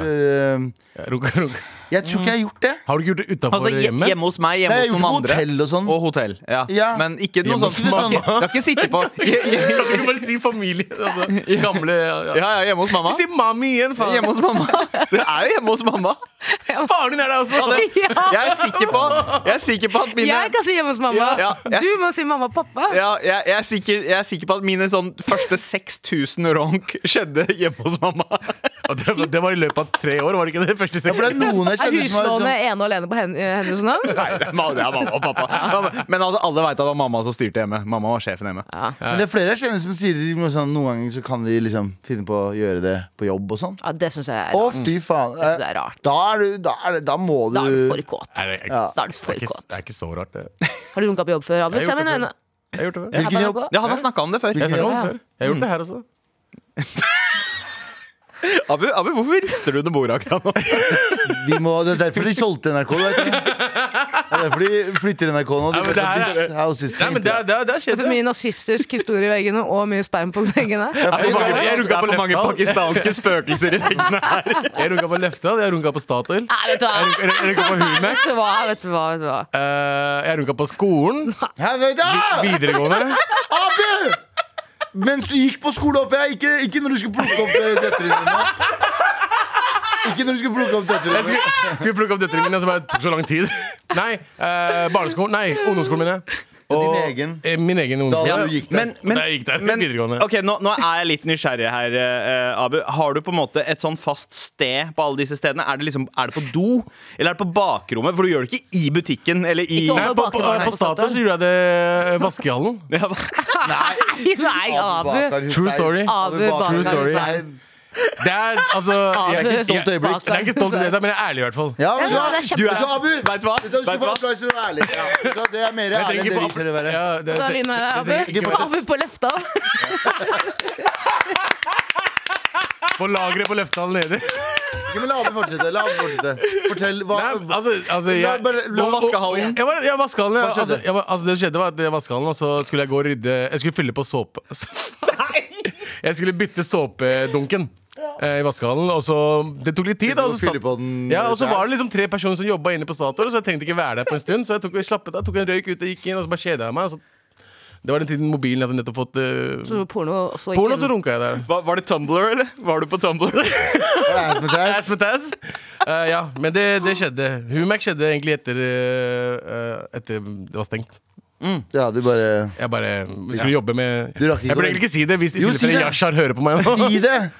Speaker 2: Ja,
Speaker 6: øh,
Speaker 2: Runk, runk.
Speaker 6: Jeg tror ikke jeg har gjort det.
Speaker 2: Har du ikke gjort det utafor
Speaker 3: Altså, hje-
Speaker 2: hjemmet?
Speaker 3: hjemme hos meg, hjemme
Speaker 6: Nei, jeg
Speaker 3: hos noen
Speaker 6: har gjort det på
Speaker 3: andre.
Speaker 6: hotell og sånn.
Speaker 3: Og hotell, ja.
Speaker 6: Ja.
Speaker 3: Men ikke noe
Speaker 2: Hjemme
Speaker 3: sånt.
Speaker 2: hos
Speaker 3: Du
Speaker 6: mamma.
Speaker 3: har ikke sittet på
Speaker 2: Kan du ikke bare si familie? Altså, gamle ja.
Speaker 3: Ja, ja, hjemme hos mamma.
Speaker 2: Ikke si mami igjen, faen!
Speaker 3: Hjemme hos mamma. Det er jo hjemme hos mamma.
Speaker 2: Faren din er der også!
Speaker 4: Ja.
Speaker 3: Jeg er sikker på, jeg er sikker på at mine
Speaker 4: Jeg kan si hjemme hos mamma.
Speaker 3: Ja, ja.
Speaker 4: Du må si mamma og pappa.
Speaker 3: ja, jeg, jeg, er sikker, jeg er sikker på at mine sånn første 6000 ronk skjedde hjemme hos mamma.
Speaker 2: Og det, det var i løpet av tre år, var det ikke det? Første
Speaker 6: Ja, for det er noen jeg
Speaker 4: Er
Speaker 6: kjenner som har
Speaker 4: huslånet
Speaker 6: sånn,
Speaker 4: ene og alene på Hen- Henrys navn?
Speaker 3: Nei, det er ma- det er mamma og pappa. Mamma- Men altså, alle veit at det var mamma som styrte hjemme. Mamma var sjefen hjemme.
Speaker 6: Men det er flere jeg kjenner som sier noe sånn, noen ganger så kan de liksom finne på å gjøre det på jobb og sånn.
Speaker 4: Ja, det syns jeg er
Speaker 6: Å,
Speaker 4: rart.
Speaker 6: fy faen.
Speaker 4: synes det er rart.
Speaker 6: Da, er du, da, er det, da må eh, du
Speaker 4: Da er du for kåt.
Speaker 2: Nei, det er ikke-
Speaker 6: Ja.
Speaker 4: Da er du
Speaker 2: Det er,
Speaker 4: for
Speaker 2: ikke, det
Speaker 4: kåt.
Speaker 2: er ikke så rart, det.
Speaker 4: Har du runka på jobb før, Abu?
Speaker 2: Jeg
Speaker 4: Se
Speaker 2: har gjort
Speaker 4: mine
Speaker 2: det
Speaker 4: øyne.
Speaker 2: Jeg har gjort det før.
Speaker 6: Hvilken
Speaker 4: Her
Speaker 6: jobb?
Speaker 4: kan du gå.
Speaker 3: Ja, han har snakka om det før.
Speaker 2: Jeg snakket om det
Speaker 4: Ja.
Speaker 2: før. Jeg har gjort det her også.
Speaker 3: Abu, Abu, hvorfor rister du under bordet akkurat nå?
Speaker 6: Vi må, det er derfor de solgte NRK. Vet du. Det er derfor de flytter NRK nå.
Speaker 2: Ja,
Speaker 6: De
Speaker 2: men
Speaker 6: vet
Speaker 2: det her
Speaker 6: at this
Speaker 2: er-
Speaker 6: house is
Speaker 2: Nei, men det,
Speaker 6: tainted.
Speaker 2: er- det, er- det
Speaker 4: Det er
Speaker 2: skjedde.
Speaker 4: for mye nazistisk historie i veggene og mye sperm på veggene.
Speaker 2: Jeg runka på- jeg
Speaker 3: Det
Speaker 2: runka
Speaker 3: er
Speaker 2: på
Speaker 3: for mange
Speaker 2: Lefdal.
Speaker 3: pakistanske spøkelser i veggene her.
Speaker 2: Jeg runka på Lefdal, jeg runka på Statoil.
Speaker 4: Nei, vet du hva?
Speaker 2: Jeg runka- jeg runka på Humac.
Speaker 4: Vet du hva? Vet du hva? Vet du hva?
Speaker 2: Eh, Jeg runka på skolen.
Speaker 6: Hæ, vet du?
Speaker 2: Videregående.
Speaker 6: Abu! Mens du gikk på skole opp, jeg. Ikke, ikke når du skulle plukke opp eh, døtrene dine. Ikke når du skulle plukke opp døtrene
Speaker 2: Jeg skulle, skulle plukke opp døtrene mine, så bare tok så lang tid. Nei, eh, barneskolen Nei, ungdomsskolen mine.
Speaker 6: din egen.
Speaker 2: eh, min egen ungdom.
Speaker 6: Da
Speaker 2: Ja.
Speaker 6: du gikk der.
Speaker 3: Men, men,
Speaker 2: Da jeg gikk der,
Speaker 3: men
Speaker 2: videregående.
Speaker 3: ok, nå, nå er jeg litt nysgjerrig her, eh, Abu. Har du på en måte et sånn fast sted på alle disse stedene? Er det, liksom, er det på do, eller er det på bakrommet? For du gjør det ikke i butikken eller i
Speaker 4: Ikke
Speaker 2: Nei, på, på, på Statoil så gjorde jeg det i vaskehallen.
Speaker 3: Ja, hva-
Speaker 4: Nei, nei, Abu.
Speaker 2: True story.
Speaker 4: Abu Bakar
Speaker 2: True story.
Speaker 6: Hussein.
Speaker 2: Det er altså Jeg er ikke stolt,
Speaker 6: stolt øyeblikk.
Speaker 4: Bakar.
Speaker 2: jeg er ikke stolt i det, men jeg er ærlig i hvert fall.
Speaker 6: Ja,
Speaker 4: Ja,
Speaker 6: men du
Speaker 4: ja, det er
Speaker 6: er, du
Speaker 4: kjempebra.
Speaker 6: er ikke Abu!
Speaker 3: Vet du hva?
Speaker 6: Vet du hva? Du
Speaker 3: Vet
Speaker 6: skal
Speaker 3: du
Speaker 6: få
Speaker 3: hva?
Speaker 6: applaus for å være ærlig. Ja, vet du hva? det er mer
Speaker 2: Jeg
Speaker 6: ærlig enn
Speaker 2: trenger
Speaker 6: det
Speaker 2: ikke
Speaker 6: vi
Speaker 2: få
Speaker 6: tør å være.
Speaker 2: Ja, det-
Speaker 4: Ta lyden her,
Speaker 2: det- det-
Speaker 4: Abu. Abu på løfta.
Speaker 2: På lageret på Løftehallen nede.
Speaker 6: Ikke, men la Abu fortsette. La Abu fortsette. Fortell hva
Speaker 2: Nei, altså, altså
Speaker 6: La-
Speaker 2: jeg,
Speaker 6: bare- la-
Speaker 2: Og- og-
Speaker 3: vaskehallen.
Speaker 2: Jeg var, ja, vaskehallen ja.
Speaker 6: Hva skjedde?
Speaker 2: Altså, jeg var, altså, det skjedde var at jeg var vaskehallen, og så skulle jeg gå og rydde Jeg skulle fylle på såpe. Jeg skulle bytte såpedunken. eh, I vaskehallen, og så Det tok litt tid. Da, og, så
Speaker 6: Fylle på den
Speaker 2: ja, og så
Speaker 6: selv.
Speaker 2: var det liksom tre personer som jobba inne på Statoil, så jeg tenkte ikke være der på en stund. Så jeg tok, slappet av, tok en røyk ut og gikk inn, og så bare kjeda jeg meg. Og så, det var den tiden mobilen jeg hadde nettopp fått eh,
Speaker 4: Så porno også
Speaker 2: porno, så
Speaker 4: ikke
Speaker 2: runka jeg der.
Speaker 3: hva- Var det Tumblr, eller? Var du på Tumblr?
Speaker 6: Det er som et ass.
Speaker 2: Ass with ass. Eh, ja, men det, det skjedde. Humac skjedde egentlig etter eh, Etter det var stengt.
Speaker 6: Ja, du bare
Speaker 2: Jeg bare vi skulle jobbe med
Speaker 6: Du rakk ikke
Speaker 2: Jeg burde
Speaker 6: å-
Speaker 2: egentlig ikke si det hvis i
Speaker 6: Jo, si
Speaker 2: tilfelle
Speaker 6: det.
Speaker 2: Yashar hører på meg nå.
Speaker 6: Si det!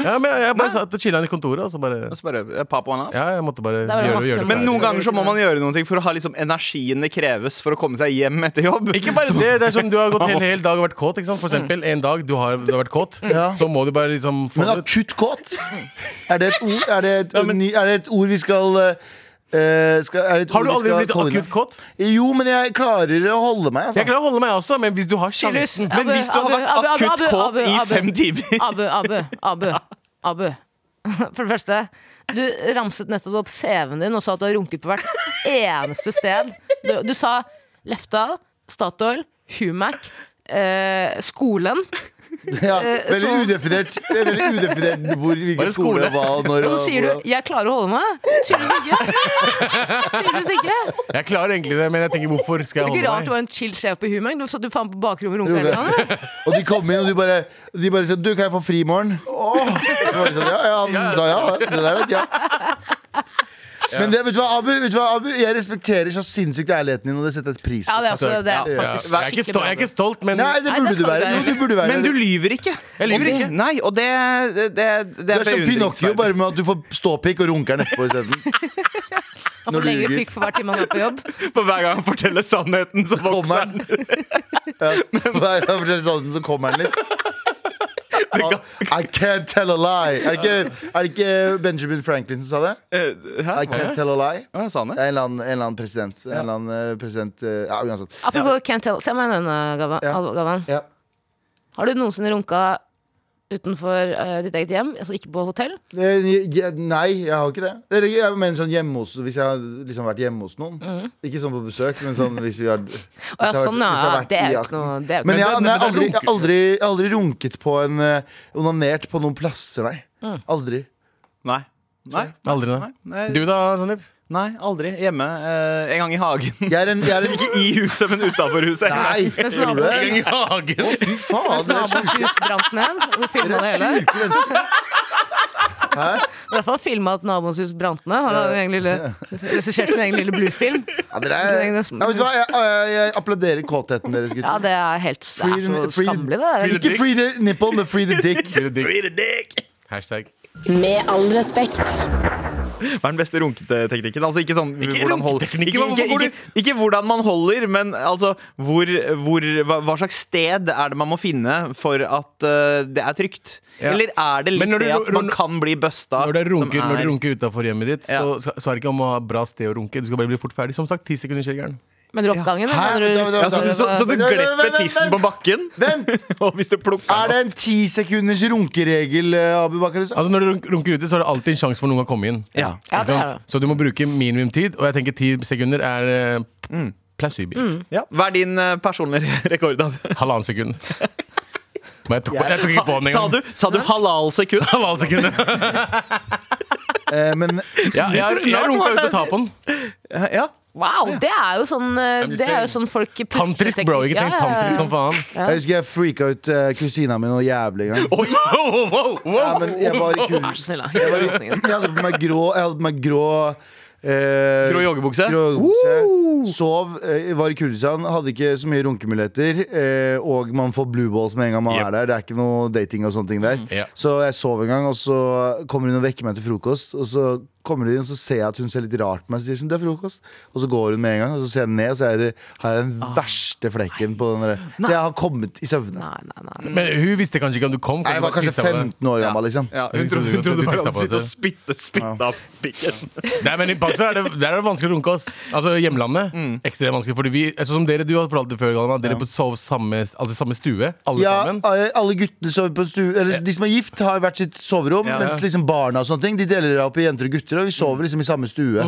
Speaker 2: Ja, men jeg bare satt og chilla i kontoret, og så bare
Speaker 3: Og så bare, eh, pop one off.
Speaker 2: Ja, jeg måtte bare
Speaker 4: var det
Speaker 2: gjøre,
Speaker 4: masse-
Speaker 2: gjøre det
Speaker 3: Men
Speaker 2: ferdig.
Speaker 3: noen ganger så må man gjøre noe for å ha liksom energien det kreves for å komme seg hjem etter jobb.
Speaker 2: Ikke bare det, det er som du har gått hele, hele dag og vært kåt. ikke
Speaker 4: Mm.
Speaker 2: sant? For eksempel en dag du har, du har vært kåt,
Speaker 6: Ja.
Speaker 2: så må du bare liksom få
Speaker 6: Men
Speaker 2: det ut.
Speaker 6: akutt kåt? Er det et ord, er det et, ny- er det et ord vi skal eh, skal, er det et
Speaker 2: Har du
Speaker 6: ord vi
Speaker 2: aldri
Speaker 6: skal
Speaker 2: blitt
Speaker 6: komme inn
Speaker 2: akutt
Speaker 6: med?
Speaker 2: kåt?
Speaker 6: Jo, men jeg klarer å holde meg.
Speaker 2: Jeg
Speaker 6: Altså.
Speaker 2: klarer å holde meg også, men hvis du har sjansen
Speaker 4: Abu,
Speaker 3: Men hvis du har
Speaker 4: Abu,
Speaker 3: vært
Speaker 4: Abu, Abu,
Speaker 3: akutt
Speaker 4: Abu,
Speaker 3: kåt
Speaker 4: Abu,
Speaker 3: i
Speaker 4: Abu.
Speaker 3: fem timer
Speaker 4: Abu, Abu, Abu, Abu. For det første, du ramset nettopp opp CV-en din og sa at du har runket på hvert eneste sted. Du, du sa Lefdal, Statoil, Humac, eh, skolen.
Speaker 6: Ja,
Speaker 4: Eh,
Speaker 6: veldig
Speaker 4: så-
Speaker 6: udefinert. Det er veldig udefinert hvor,
Speaker 2: Var
Speaker 6: hvilken
Speaker 2: det skole?
Speaker 6: skole det var, og når
Speaker 4: Og så sier du
Speaker 6: hvordan.
Speaker 4: 'jeg klarer å holde meg'. Tydeligvis ikke. Tydeligvis ikke.
Speaker 2: Jeg klarer egentlig det, men jeg tenker hvorfor skal
Speaker 4: Det er
Speaker 2: jeg
Speaker 4: ikke rart du
Speaker 2: holde meg?
Speaker 4: var en chill sjef på Humac. Du satt du faen på bakrommet og runket
Speaker 6: Runket.
Speaker 4: hele dagen. eller?
Speaker 6: Og de kom inn, og de bare, de bare sa 'Du, kan jeg få fri i morgen?' Åh! Så var det sånn, ja, ja, han sa ja. Det der er et ja. Men det, vet, du hva, Abu, vet du hva, Abu? Jeg respekterer så sinnssykt ærligheten din, og det setter jeg pris
Speaker 4: Ja,
Speaker 6: på.
Speaker 4: det er, også, det er
Speaker 2: Ja.
Speaker 4: faktisk
Speaker 2: Jeg er ikke
Speaker 4: skikkelig
Speaker 2: stolt,
Speaker 4: bra.
Speaker 2: jeg er ikke stolt men
Speaker 6: Nei, det
Speaker 4: Nei,
Speaker 6: burde
Speaker 4: det
Speaker 6: du
Speaker 4: skal du
Speaker 6: være.
Speaker 4: være.
Speaker 6: Jo, du burde være
Speaker 3: Men du
Speaker 6: det.
Speaker 3: lyver ikke.
Speaker 2: Jeg lyver
Speaker 3: Og det-
Speaker 2: ikke.
Speaker 3: Nei, og det, det, det,
Speaker 6: Du er som Pinocchio,
Speaker 3: beundringsverdig.
Speaker 6: bare med at du får ståpikk og runker den etterpå isteden.
Speaker 4: Han
Speaker 6: når
Speaker 4: får
Speaker 6: du
Speaker 4: lengre
Speaker 6: ljuger.
Speaker 4: pikk for hver time han er på jobb.
Speaker 3: For hver gang han forteller sannheten, så vokser
Speaker 6: Kommer
Speaker 3: han.
Speaker 6: den. Ja, hver gang jeg forteller sannheten, så sånn kommer den litt. Ah, I can't tell a lie. Er det ikke, er det ikke Benjamin Franklin som sa det?
Speaker 3: Eh, Hæ?
Speaker 6: I can't tell a lie.
Speaker 3: Hva sa han
Speaker 6: Det
Speaker 3: det?
Speaker 6: er en eller annen, en eller annen president. En eller annen eh, president eh, Ja, uansett.
Speaker 4: Apropos can't tell. Se meg denne, Gavan.
Speaker 6: Ja.
Speaker 4: Gavan.
Speaker 6: Ja.
Speaker 4: Har du noensinne runka utenfor eh, ditt eget hjem? Altså ikke på hotell?
Speaker 6: Eh, je- Nei, jeg har ikke det. Eller, Jeg mener sånn hjemme hos Hvis jeg har liksom vært hjemme hos noen. Ikke sånn på besøk, men sånn hvis vi har hvis
Speaker 4: Mm. Å ja,
Speaker 6: jeg har vært-
Speaker 4: sånn ja.
Speaker 6: hvis jeg har
Speaker 4: ja.
Speaker 6: vært
Speaker 4: Det er
Speaker 6: i
Speaker 4: jo
Speaker 6: akten.
Speaker 4: ikke noe det er jo
Speaker 6: Men
Speaker 4: ikke
Speaker 6: jeg
Speaker 4: noe-
Speaker 6: har
Speaker 2: men
Speaker 6: nei,
Speaker 2: det er
Speaker 6: aldri,
Speaker 2: runking.
Speaker 6: aldri, aldri runket på en eh, Onanert på noen plasser, nei. Aldri.
Speaker 3: Nei. Nei.
Speaker 2: Aldri,
Speaker 3: Nei,
Speaker 2: nei.
Speaker 3: nei.
Speaker 2: Du da, Sandeep?
Speaker 3: Nei, aldri. Hjemme. eh, en gang i hagen.
Speaker 6: Jeg er en, jeg er en
Speaker 3: Ikke i huset, men utafor huset.
Speaker 6: Nei!
Speaker 4: Men
Speaker 6: Gjorde du
Speaker 2: I
Speaker 6: det?
Speaker 2: hagen?
Speaker 6: Å, fy faen! Dere er
Speaker 4: Nabos
Speaker 6: sjuke-
Speaker 4: hus brant ned. og Du
Speaker 6: dere
Speaker 4: filma det
Speaker 6: er
Speaker 4: hele.
Speaker 6: sjuke mennesker. Hæ?
Speaker 4: I hvert fall filma at naboens hus brant ned. Han hadde en egen lille regissert sin egen lille bluefilm.
Speaker 6: Ja, dere er, ja, vet du hva? Jeg, jeg, jeg applauderer kåtheten deres,
Speaker 4: Ja,
Speaker 6: gutter.
Speaker 4: det er helt det er
Speaker 6: Free the-
Speaker 4: så
Speaker 6: free the-
Speaker 4: skammelig, det.
Speaker 2: free the-
Speaker 4: der.
Speaker 6: Ikke free the nipple, men free the dick.
Speaker 2: Read a dick. Hashtag.
Speaker 7: Med all respekt.
Speaker 3: Hva er den beste runketeknikken? Altså ikke sånn
Speaker 2: Ikke
Speaker 3: hvordan hold-
Speaker 2: runketeknikken,
Speaker 3: ikke,
Speaker 2: hvorfor
Speaker 3: ikke,
Speaker 2: går du-
Speaker 3: ikke, ikke hvordan man holder, men altså hvor, hvor, hva, hva slags sted er det man må finne for at eh, det er trygt?
Speaker 2: Ja.
Speaker 3: Eller er det
Speaker 2: Men
Speaker 3: litt
Speaker 2: når du-
Speaker 3: det
Speaker 2: når-
Speaker 3: at man kan bli busta?
Speaker 2: Når du runker,
Speaker 3: som
Speaker 2: når
Speaker 3: er-
Speaker 2: du runker utenfor hjemmet ditt,
Speaker 3: Ja.
Speaker 2: så, så, så er det ikke om å ha bra sted å runke. Du skal bare bli fort ferdig. Som sagt, ti sekunder skjer
Speaker 4: Men du oppgangen, da,
Speaker 6: Hæ?
Speaker 4: mener du?
Speaker 6: Da- da- da-
Speaker 3: ja, så, så, så du
Speaker 6: Vent, vent, vent,
Speaker 3: glepper
Speaker 6: vent,
Speaker 3: tissen på
Speaker 6: vent.
Speaker 3: bakken?
Speaker 6: Vent!
Speaker 3: Og hvis du plukker
Speaker 6: Er
Speaker 3: den opp?
Speaker 6: det en ti sekunders runkeregel, eh, Abu Bakar? Hussein?
Speaker 2: Altså Når du runk- runker ute, så er det alltid en sjanse for noen å komme inn.
Speaker 3: Ja.
Speaker 4: Ja,
Speaker 2: Ikke
Speaker 4: det
Speaker 2: sant?
Speaker 4: er det.
Speaker 2: Så du må bruke minimum tid, og jeg tenker ti sekunder er eh, p- plausibilt.
Speaker 3: Ja. Hva er din eh, personlige re- rekord? Av?
Speaker 2: Halvannen sekund. Men jeg tok, jeg tok ikke på den
Speaker 3: Sa
Speaker 2: engang.
Speaker 3: du, sa du halal sekund?
Speaker 2: Halvannen sekund.
Speaker 6: Eh, men
Speaker 2: Ja, jeg, jeg,
Speaker 6: Eh,
Speaker 3: Snart
Speaker 2: runka
Speaker 3: var
Speaker 2: uten
Speaker 3: det-
Speaker 2: å ta på den.
Speaker 3: Ja,
Speaker 4: Wow, det er jo sånn, eh,
Speaker 2: du
Speaker 4: det
Speaker 2: ser-
Speaker 4: er jo sånn folk pusler
Speaker 2: Tantrisk, bro. Ikke tenk
Speaker 4: Ja, ja, ja.
Speaker 2: tantrisk sånn- som faen.
Speaker 6: Jeg husker jeg freaka ut eh, kusina mi noe jævlig en gang.
Speaker 2: Oi, wow, wow, wow.
Speaker 6: Ja, men jeg var i kul.
Speaker 4: Vær så snill, da.
Speaker 6: Jeg, var i, jeg hadde på meg grå Jeg hadde på meg grå eh,
Speaker 3: Grå joggebukse?
Speaker 6: grå joggebukse. Sov, eh, var i Kurdistan, hadde ikke så mye runkemuligheter. Eh, og man får blue balls med en gang man
Speaker 2: Yep.
Speaker 6: er der. Det er ikke noe dating og sånne ting der.
Speaker 3: Mm.
Speaker 2: Ja.
Speaker 6: Så jeg sov en gang, og så kommer hun og vekker meg til frokost. Og så kommer hun inn, og så ser jeg at hun ser litt rart på meg og sier sånn, det er frokost. Og så går hun med en gang, og så ser jeg ned, og så er det, har jeg den verste flekken på den der. Så jeg har kommet i søvne.
Speaker 4: Nei, nei, nei.
Speaker 2: Men hun visste kanskje ikke om du kom.
Speaker 6: Jeg var kanskje
Speaker 2: tissa på deg.
Speaker 6: 15 år gammel, liksom.
Speaker 3: Ja,
Speaker 2: Hun
Speaker 3: hun trodde,
Speaker 2: trodde
Speaker 3: hun
Speaker 2: at du
Speaker 3: trodde bare
Speaker 2: tisset
Speaker 3: han
Speaker 2: på
Speaker 3: sitter og
Speaker 2: seg.
Speaker 3: spytte spytte av pikken.
Speaker 2: Nei, men i Pakistan er det, der er det vanskelig å runke oss. Altså hjemlandet.
Speaker 3: Mm.
Speaker 2: Ekstremt vanskelig. Fordi vi, altså, som dere, du har fortalt det før, Galvan, dere sov samme, altså, samme stue, alle
Speaker 6: Ja,
Speaker 2: sammen.
Speaker 6: eh, alle guttene sover på stue Eller de som er gift, har hvert sitt soverom.
Speaker 3: Ja, ja.
Speaker 6: Mens liksom barna og sånne ting De deler det opp i jenter og gutter, og vi sover liksom i samme stue.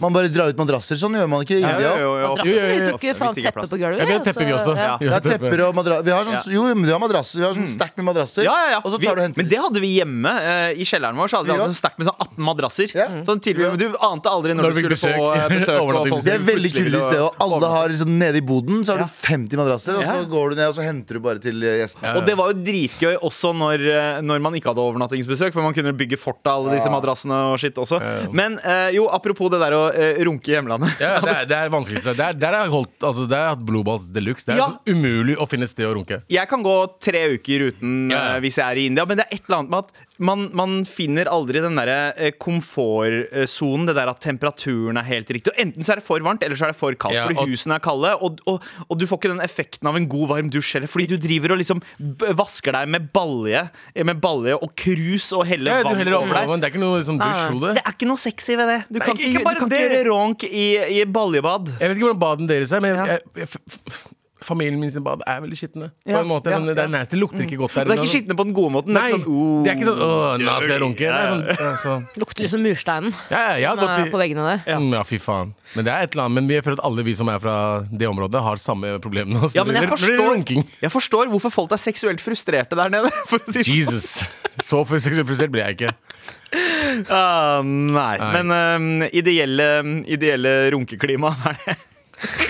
Speaker 6: Man bare drar ut madrasser. Sånn gjør man ikke i
Speaker 3: Mm. Ja,
Speaker 6: India.
Speaker 3: jo, jo,
Speaker 2: Jo,
Speaker 3: jo.
Speaker 2: jo, jo.
Speaker 4: Madrasser? Vi tok jo
Speaker 3: Hvis
Speaker 4: faen
Speaker 3: det ikke er
Speaker 4: teppet
Speaker 3: plass.
Speaker 4: på gulvet. altså.
Speaker 2: Ja, vi har
Speaker 4: og
Speaker 2: tepper, vi
Speaker 4: så-
Speaker 2: også. Vi
Speaker 4: ja.
Speaker 6: Vi
Speaker 2: har
Speaker 6: har tepper og madrasser. Vi har sånn,
Speaker 3: Ja. Mm.
Speaker 6: jo, men vi har madrasser. Vi har sånn stack med madrasser.
Speaker 3: Ja, ja, ja.
Speaker 6: Og så tar
Speaker 3: vi,
Speaker 6: du og henter
Speaker 3: men det hadde vi hjemme. eh, I kjelleren vår Så hadde vi
Speaker 6: Ja.
Speaker 3: alltid sånn sterkt med sånn 18 madrasser.
Speaker 6: Ja.
Speaker 3: Sånn tilbud,
Speaker 6: Ja.
Speaker 3: men Du ante aldri når,
Speaker 2: Når
Speaker 3: du
Speaker 2: vi
Speaker 3: skulle
Speaker 2: fikk
Speaker 3: få eh,
Speaker 2: besøk.
Speaker 3: besøk. og folk
Speaker 2: Overnattings-
Speaker 6: Det er et veldig
Speaker 3: plutselig
Speaker 6: kul
Speaker 3: ville-
Speaker 6: sted. Og alle har liksom Nede i boden så har du 50 madrasser, og så
Speaker 3: Ja.
Speaker 6: går du ned og så henter du bare til eh, gjestene.
Speaker 3: Og det var jo dritgøy også når, eh, når man ikke hadde overnattingsbesøk, for man kunne bygge fort av alle disse madrassene og skitt også. Men eh, jo, apropos det der å eh, runke i hjemlandet.
Speaker 2: Ja, det er det er vanskeligste. Der, der har jeg holdt altså, Der har jeg hatt blodballs de luxe. Det er
Speaker 3: Ja.
Speaker 2: sånn umulig å finne et sted å runke.
Speaker 3: Jeg kan gå tre uker uten
Speaker 2: Ja, ja.
Speaker 3: eh, hvis jeg er i India, men det er et eller annet med at man, man finner aldri den derre eh, komfortsonen, det der at temperaturen er helt riktig. Og enten så er det for varmt, eller så er det for kaldt,
Speaker 2: Ja,
Speaker 3: fordi
Speaker 2: og-
Speaker 3: husene er kalde, og, og, og du får ikke den effekten av en god, varm dusj heller, fordi du driver og liksom b- vasker deg med balje, eh, med balje og krus og heller
Speaker 2: Ja, du
Speaker 3: vann
Speaker 2: heller
Speaker 3: over deg.
Speaker 2: overvann. Det er ikke noe liksom, dusjhode.
Speaker 3: Det er ikke noe sexy ved det. Du kan
Speaker 2: ikke
Speaker 3: ikke,
Speaker 2: bare
Speaker 3: du kan ikke
Speaker 2: det.
Speaker 3: gjøre ronk i, i baljebad.
Speaker 2: Jeg vet ikke hvordan baden deres er, men
Speaker 3: Ja.
Speaker 2: jeg, jeg, f- f- familien min sin bad er veldig skitne.
Speaker 3: Ja,
Speaker 2: På en måte,
Speaker 3: ja,
Speaker 2: sånn, Det
Speaker 3: ja.
Speaker 2: er nasty. Det lukter ikke godt der.
Speaker 3: Det er ikke skitne på den gode måten.
Speaker 2: sånn- Nei,
Speaker 3: det er ikke sånn,
Speaker 2: det er ikke sånn Å, nå skal jeg runke. Det
Speaker 3: Ja,
Speaker 2: er
Speaker 3: ja.
Speaker 2: sånn, altså,
Speaker 4: Lukter liksom mursteinen
Speaker 2: ja, ja, jeg har
Speaker 4: eh,
Speaker 2: gått i
Speaker 4: på veggene der.
Speaker 2: Ja. Mm, ja, fy faen. Men det er et eller annet Men vi- jeg føler at alle vi som er fra det området, har samme problemene. altså,
Speaker 3: Ja, men jeg
Speaker 2: når det gjelder
Speaker 3: forstår,
Speaker 2: runking.
Speaker 3: jeg forstår hvorfor folk er seksuelt frustrerte der nede. For å si det sånn.
Speaker 2: Jesus. Så for- seksuelt frustrert blir jeg ikke.
Speaker 3: Ah, nei. Men eh, ideelle, ideelle runkeklima er det.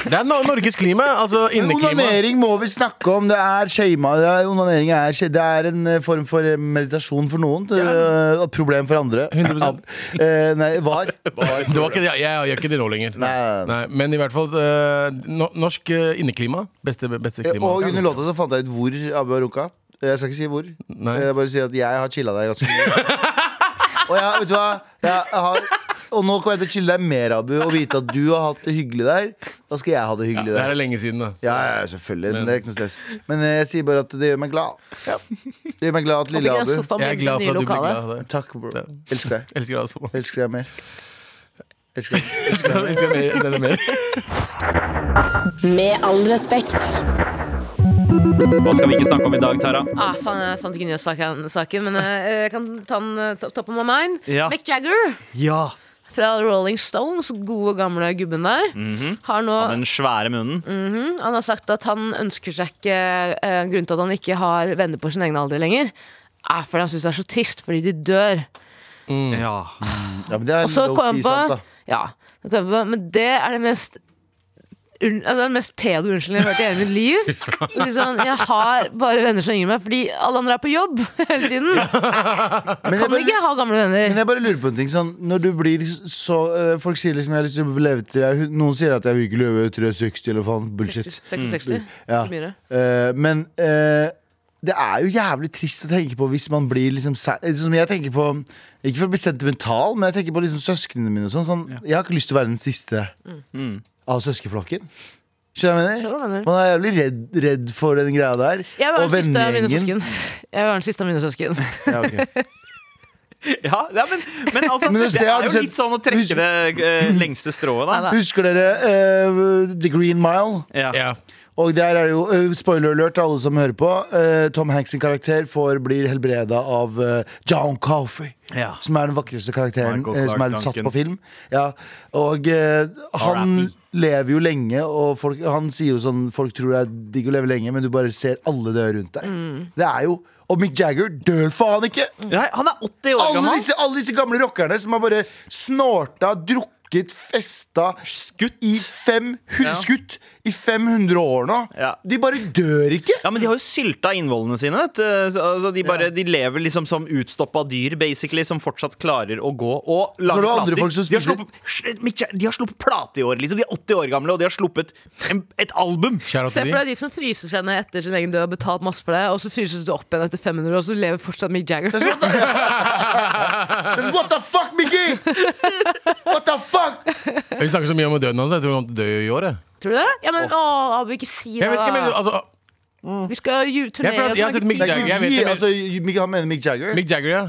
Speaker 2: Det er Nor- Norges klima. Altså
Speaker 6: Men
Speaker 2: inneklima.
Speaker 6: onanering må vi snakke om. Det er shama. Det er, onanering er, sh- det er en eh, form for eh, meditasjon for noen. eh, og problem for andre.
Speaker 2: 100%.
Speaker 6: Ab- eh, nei, var.
Speaker 2: Det var ikke, jeg, jeg gjør ikke det nå lenger.
Speaker 6: Nei.
Speaker 2: Nei, men i hvert fall eh, no, norsk eh, inneklima. Beste, beste klima.
Speaker 6: Og under låta så fant jeg ut hvor Abu har runka. Jeg skal ikke si hvor.
Speaker 2: Nei.
Speaker 6: Jeg bare sier at jeg har chilla deg ganske mye. og jeg, vet du hva? Jeg har, og nå kommer jeg til å chille deg mer, Abu, og vite at du har hatt det hyggelig der. Da skal jeg ha det hyggelig
Speaker 2: Det her er
Speaker 6: der.
Speaker 2: lenge siden, da.
Speaker 6: Ja, ja, selvfølgelig. Men, det er ikke noe stress. Men eh, jeg sier bare at det gjør meg glad. Det gjør meg glad at lille
Speaker 4: Ligger i en
Speaker 6: Abu
Speaker 2: Jeg
Speaker 4: sofa
Speaker 2: er
Speaker 4: med
Speaker 2: glad
Speaker 4: nye
Speaker 2: for at du ble
Speaker 4: lokaler.
Speaker 2: glad av det.
Speaker 6: Takk, bro. Elsker deg.
Speaker 2: Elsker deg også.
Speaker 6: Elsker deg mer. Elsker deg.
Speaker 2: Elsker deg mer- deg mer.
Speaker 7: Med all respekt.
Speaker 3: Hva skal vi ikke snakke om i dag, Tara?
Speaker 4: Ah, faen, jeg fant ikke nyhetssaken, saken, men eh, jeg kan ta den eh, to- toppen av meg.
Speaker 3: Ja.
Speaker 4: Mick Jagger
Speaker 3: Ja,
Speaker 4: fra Rolling Stones, gode gamle gubben der,
Speaker 2: Mhm.
Speaker 4: har nå
Speaker 3: Den svære munnen.
Speaker 4: Han har sagt at han ønsker seg ikke eh, Grunnen til at han ikke har venner på sin egen alder lenger, er fordi han syns det er så trist, fordi de dør.
Speaker 3: Ja.
Speaker 6: Ja, men det er
Speaker 4: Og så
Speaker 6: low-key
Speaker 4: kom jeg
Speaker 6: sant, da.
Speaker 4: på Ja, så kom jeg på Men det er det mest unn- altså, den mest pedo unnskyldningen jeg har hørt i hele mitt liv. Litt sånn, jeg har bare venner som yngre enn meg, fordi alle andre er på jobb hele tiden.
Speaker 6: Men jeg,
Speaker 4: Kan
Speaker 6: bare,
Speaker 4: ikke ha gamle
Speaker 6: men
Speaker 4: venner.
Speaker 6: jeg bare lurer på en ting. Sånn, når du blir så eh, Folk sier liksom jeg har lyst til å leve til jeg er hu- Noen sier at jeg vil ikke leve til jeg er 60, eller faen. Bullshit.
Speaker 4: 60-60.
Speaker 2: Mm.
Speaker 6: Ja. Eh, men eh, det er jo jævlig trist å tenke på hvis man blir liksom sæ- eh, Som jeg tenker på Ikke for å bli sentimental, men jeg tenker på liksom søsknene mine og sånn. sånn Jeg har ikke lyst til å være den siste av søskenflokken. Skjønner du hva jeg
Speaker 4: Skjønner hva du mener.
Speaker 6: mener? Man er jævlig redd, redd for den greia der.
Speaker 4: Jeg var
Speaker 6: Og
Speaker 4: den siste av mine
Speaker 6: vennegjengen.
Speaker 4: søsken. Jeg var den siste av mine søsken.
Speaker 6: Ja, ok.
Speaker 3: ja, ja men, men altså,
Speaker 6: Men du ser,
Speaker 3: det
Speaker 6: har
Speaker 3: er
Speaker 6: du
Speaker 3: jo
Speaker 6: sett-
Speaker 3: litt sånn å trekke
Speaker 6: husk-
Speaker 3: det eh, lengste strået, da.
Speaker 4: Neida.
Speaker 6: Husker dere eh, The Green Mile?
Speaker 3: Ja.
Speaker 2: Ja.
Speaker 6: Og der er det jo, eh, spoiler alert til alle som hører på, eh, Tom Hanks sin karakter får, blir helbreda av eh, John Coffey.
Speaker 3: Ja.
Speaker 6: Som er den vakreste karakteren
Speaker 3: Michael
Speaker 6: eh, som
Speaker 3: Clark
Speaker 6: er satt
Speaker 3: Duncan.
Speaker 6: på film. Ja. Og eh, han
Speaker 3: R.I.P..
Speaker 6: lever jo lenge, og folk, han sier jo sånn Folk tror det er digg å leve lenge, men du bare ser alle dø rundt deg. Det er jo Og Mick Jagger dør faen ikke!
Speaker 3: Nei, han er 80 år
Speaker 6: Alle
Speaker 3: gammel.
Speaker 6: disse, alle disse gamle rockerne som har bare snorta, drukket drukket, festa
Speaker 3: Skutt.
Speaker 6: i, 500,
Speaker 3: Ja.
Speaker 6: skutt i 500 år nå.
Speaker 3: Ja.
Speaker 6: De bare dør ikke!
Speaker 3: Ja, men de har jo sylta innvollene sine, vet du. Så, altså, de, bare, de lever liksom som utstoppa dyr, basically, som fortsatt klarer å gå og
Speaker 6: Så er
Speaker 3: lage
Speaker 6: det andre
Speaker 3: plater.
Speaker 6: folk som
Speaker 3: de, har
Speaker 6: spiser-
Speaker 3: sluppet, Shit, Mitch, de har sluppet plate i år, liksom. De er 80 år gamle, og de har sluppet en, et album.
Speaker 2: Kjære
Speaker 4: Se
Speaker 2: til
Speaker 4: for
Speaker 2: de.
Speaker 4: deg de som fryser seg ned etter sin egen død og har betalt masse for det, og så fryses du opp igjen etter 500 år, og så lever fortsatt Mick Jagger.
Speaker 6: Men What the fuck, Mickey? What the fuck?
Speaker 2: Vi snakker så mye om døden hans. Jeg tror han kommer til å dø i år. Jeg,
Speaker 4: Tror du det? Ja, men å, Abu, ikke si det,
Speaker 2: jeg vet ikke, men
Speaker 4: da.
Speaker 2: altså,
Speaker 4: Vi skal ju-
Speaker 2: Jeg føler
Speaker 4: turnere
Speaker 2: at jeg har
Speaker 4: oss om
Speaker 2: sett Mick
Speaker 4: ikke
Speaker 6: Det
Speaker 4: tid.
Speaker 6: er
Speaker 2: Jagger.
Speaker 6: ikke
Speaker 2: jeg vet
Speaker 6: vi,
Speaker 2: det, men-
Speaker 6: altså, Mick- han mener Mick Jagger.
Speaker 2: Mick Jagger, ja.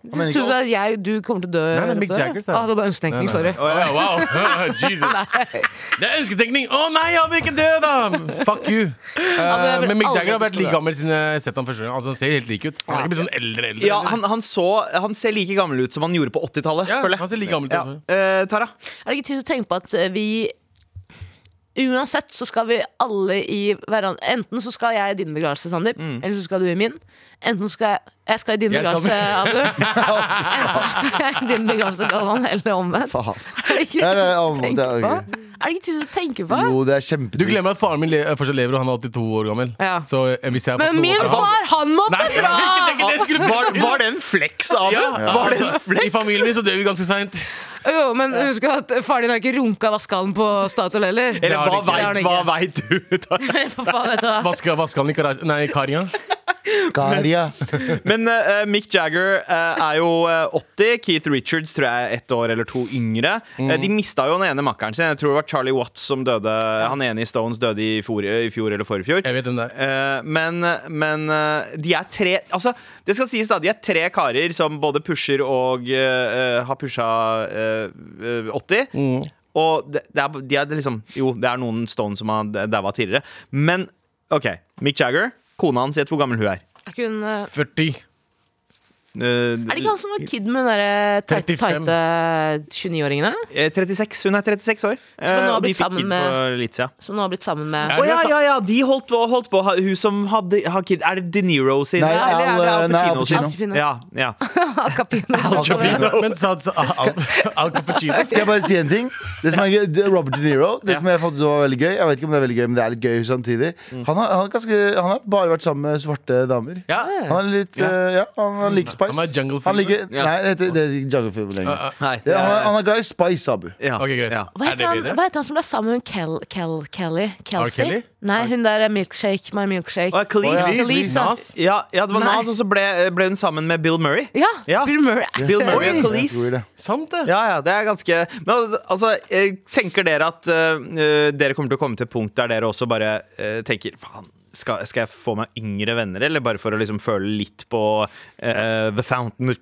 Speaker 6: mener
Speaker 4: Du
Speaker 6: ikke
Speaker 4: trodde at jeg, du kommer til å dø?
Speaker 2: Nei, det er
Speaker 4: vet
Speaker 2: Mick
Speaker 4: du?
Speaker 2: Jagger, sa jeg.
Speaker 4: ah, Det var bare ønsketenkning, sorry.
Speaker 2: Å, ja, wow. Jesus. Det er ønsketenkning! Å nei, han vil ikke dø, da! Fuck you. Eh,
Speaker 4: jeg vil
Speaker 2: men Mick
Speaker 4: aldri
Speaker 2: Jagger har
Speaker 4: at
Speaker 2: vært
Speaker 4: du skal
Speaker 2: like
Speaker 4: dø.
Speaker 2: gammel siden jeg har sett ham første gang. Altså, han ser helt lik ut. Han er ikke blitt sånn eldre eldre.
Speaker 3: Ja,
Speaker 2: eldre.
Speaker 3: han, han, så, han ser like gammel ut som han gjorde på 80-tallet,
Speaker 2: Ja,
Speaker 3: føler jeg.
Speaker 2: han ser like gammel ut.
Speaker 3: Ja.
Speaker 2: altså.
Speaker 3: Eh, Tara?
Speaker 4: Er det ikke tid til å tenke på at eh, vi Uansett så skal vi alle i hverandre Enten så skal jeg i din begravelse, Sandeep, eller så skal du i min. Enten så skal jeg Jeg skal i din
Speaker 2: Mm. Jeg skal-
Speaker 4: begravelse, Abu. Enten så skal jeg i din begravelse, Galvan, eller omvendt.
Speaker 6: Faen.
Speaker 4: Er det ikke
Speaker 6: Ja,
Speaker 4: tid
Speaker 6: det er
Speaker 4: å
Speaker 6: omvendt,
Speaker 4: tenke
Speaker 6: det er
Speaker 4: på?
Speaker 6: ok.
Speaker 4: Er det ikke tid å tenke på?
Speaker 6: Jo, det er
Speaker 2: Du
Speaker 6: kjempetrist.
Speaker 2: glemmer at faren min le fortsatt lever, og han er 82 år gammel.
Speaker 4: Ja.
Speaker 2: Så eh, hvis jeg har fått
Speaker 4: Men
Speaker 2: noe-
Speaker 4: min far, han måtte
Speaker 2: Nei, ikke det
Speaker 4: dra!
Speaker 2: jeg skulle
Speaker 3: Ah, Var, var det en flex, Abu?
Speaker 2: Ah! Ja,
Speaker 3: Var det en
Speaker 2: altså, I familien min så dør vi ganske seint.
Speaker 4: Jo, men husk at faren din har ikke runka vaskehallen på Statoil heller.
Speaker 3: Eller
Speaker 2: har
Speaker 3: hva
Speaker 2: det ikke.
Speaker 4: Det har
Speaker 3: veit
Speaker 4: det
Speaker 3: hva vet
Speaker 4: ikke.
Speaker 3: du? Tara?
Speaker 4: For faen, vet du hva.
Speaker 2: Vasker vasker han i kara- Nei, karinga?
Speaker 6: Garia.
Speaker 3: Men eh, Mick Jagger eh, er jo eh, 80. Keith Richards tror jeg er ett år eller to yngre. Eh,
Speaker 2: Mm.
Speaker 3: de mista jo den ene makkeren sin. Jeg tror det var Charlie Watts som døde. Han ene i Stones døde i fjor, i fjor eller forfjor.
Speaker 2: Jeg vet hvem det er.
Speaker 3: Eh, men men eh, de er tre Altså, det skal sies da, de er tre karer som både pusher og eh, eh, har pusha eh, eh, 80.
Speaker 2: Mm.
Speaker 3: Og det, det er, de er liksom Jo, det er noen Stone som har daua tidligere. Men OK. Mick Jagger, kona hans, gjett hvor gammel hun er.
Speaker 4: Er ikke hun, eh,
Speaker 2: 40.
Speaker 3: Eh,
Speaker 4: Er det ikke han som var kid med eh, hun derre tighte
Speaker 2: 35.
Speaker 4: 29-åringene?
Speaker 3: eh, 36. Hun er 36 år.
Speaker 4: Som hun nå har
Speaker 3: Eh, og de
Speaker 4: blitt
Speaker 3: fikk
Speaker 4: sammen
Speaker 3: kid
Speaker 4: med-
Speaker 3: for litt siden.
Speaker 4: Som nå har blitt sammen
Speaker 2: Er
Speaker 4: med
Speaker 3: Å
Speaker 2: det
Speaker 3: ja,
Speaker 2: sa-
Speaker 3: ja, ja! De holdt på. Holdt på. Ha- Hun som hadde har kid Er det De Niro sin?
Speaker 6: Nei,
Speaker 3: Eller er det
Speaker 6: Al- nei, Al
Speaker 3: sin?
Speaker 4: Pacino. Pacino.
Speaker 3: Ja, ja.
Speaker 4: Al Capino.
Speaker 2: Men sa sa- Al Al Cappuccino
Speaker 6: Skal jeg bare si en ting? Det som er gøy, det er Robert De Niro Det som jeg fant ut var veldig gøy Jeg vet ikke om det er veldig gøy, men det er litt gøy samtidig. Han har, han er ganske, han har bare vært sammen med svarte damer.
Speaker 2: Ja.
Speaker 6: Han er litt eh, Ja, han, han liker spice.
Speaker 2: Han er jungle
Speaker 6: Han liker,
Speaker 3: fever.
Speaker 6: Nei, det heter det er ikke jungle fever lenger.
Speaker 3: Nei,
Speaker 6: Det, han, er, han er glad i spice, Abu.
Speaker 3: ja.
Speaker 2: Ok, greit.
Speaker 3: Ja.
Speaker 2: Er det
Speaker 4: Hva heter, han,
Speaker 2: bedre?
Speaker 4: hva heter han som ble sammen med hun Kel, Kel, Kelly? Kelsey?
Speaker 2: Kelly?
Speaker 4: Nei, hun der er Milkshake, My Milkshake.
Speaker 3: Og Khalees.
Speaker 6: Å,
Speaker 4: ja. Khalees, ja.
Speaker 3: Nas. Ja, ja, det var
Speaker 4: Nei.
Speaker 3: Nas, og så ble, ble hun sammen med Bill Murray.
Speaker 4: Ja,
Speaker 3: Ja.
Speaker 4: Bill Murray.
Speaker 3: Bill Murray og
Speaker 6: Det er så weird,
Speaker 3: Khalees.
Speaker 6: det.
Speaker 2: Sant, det.
Speaker 3: Ja, ja, det er ganske Men al- altså, eh, tenker dere at eh, dere kommer til å komme til et punkt der dere også bare eh, tenker faen skal, skal jeg få meg yngre venner, eller bare for å liksom føle litt på eh, The Fountain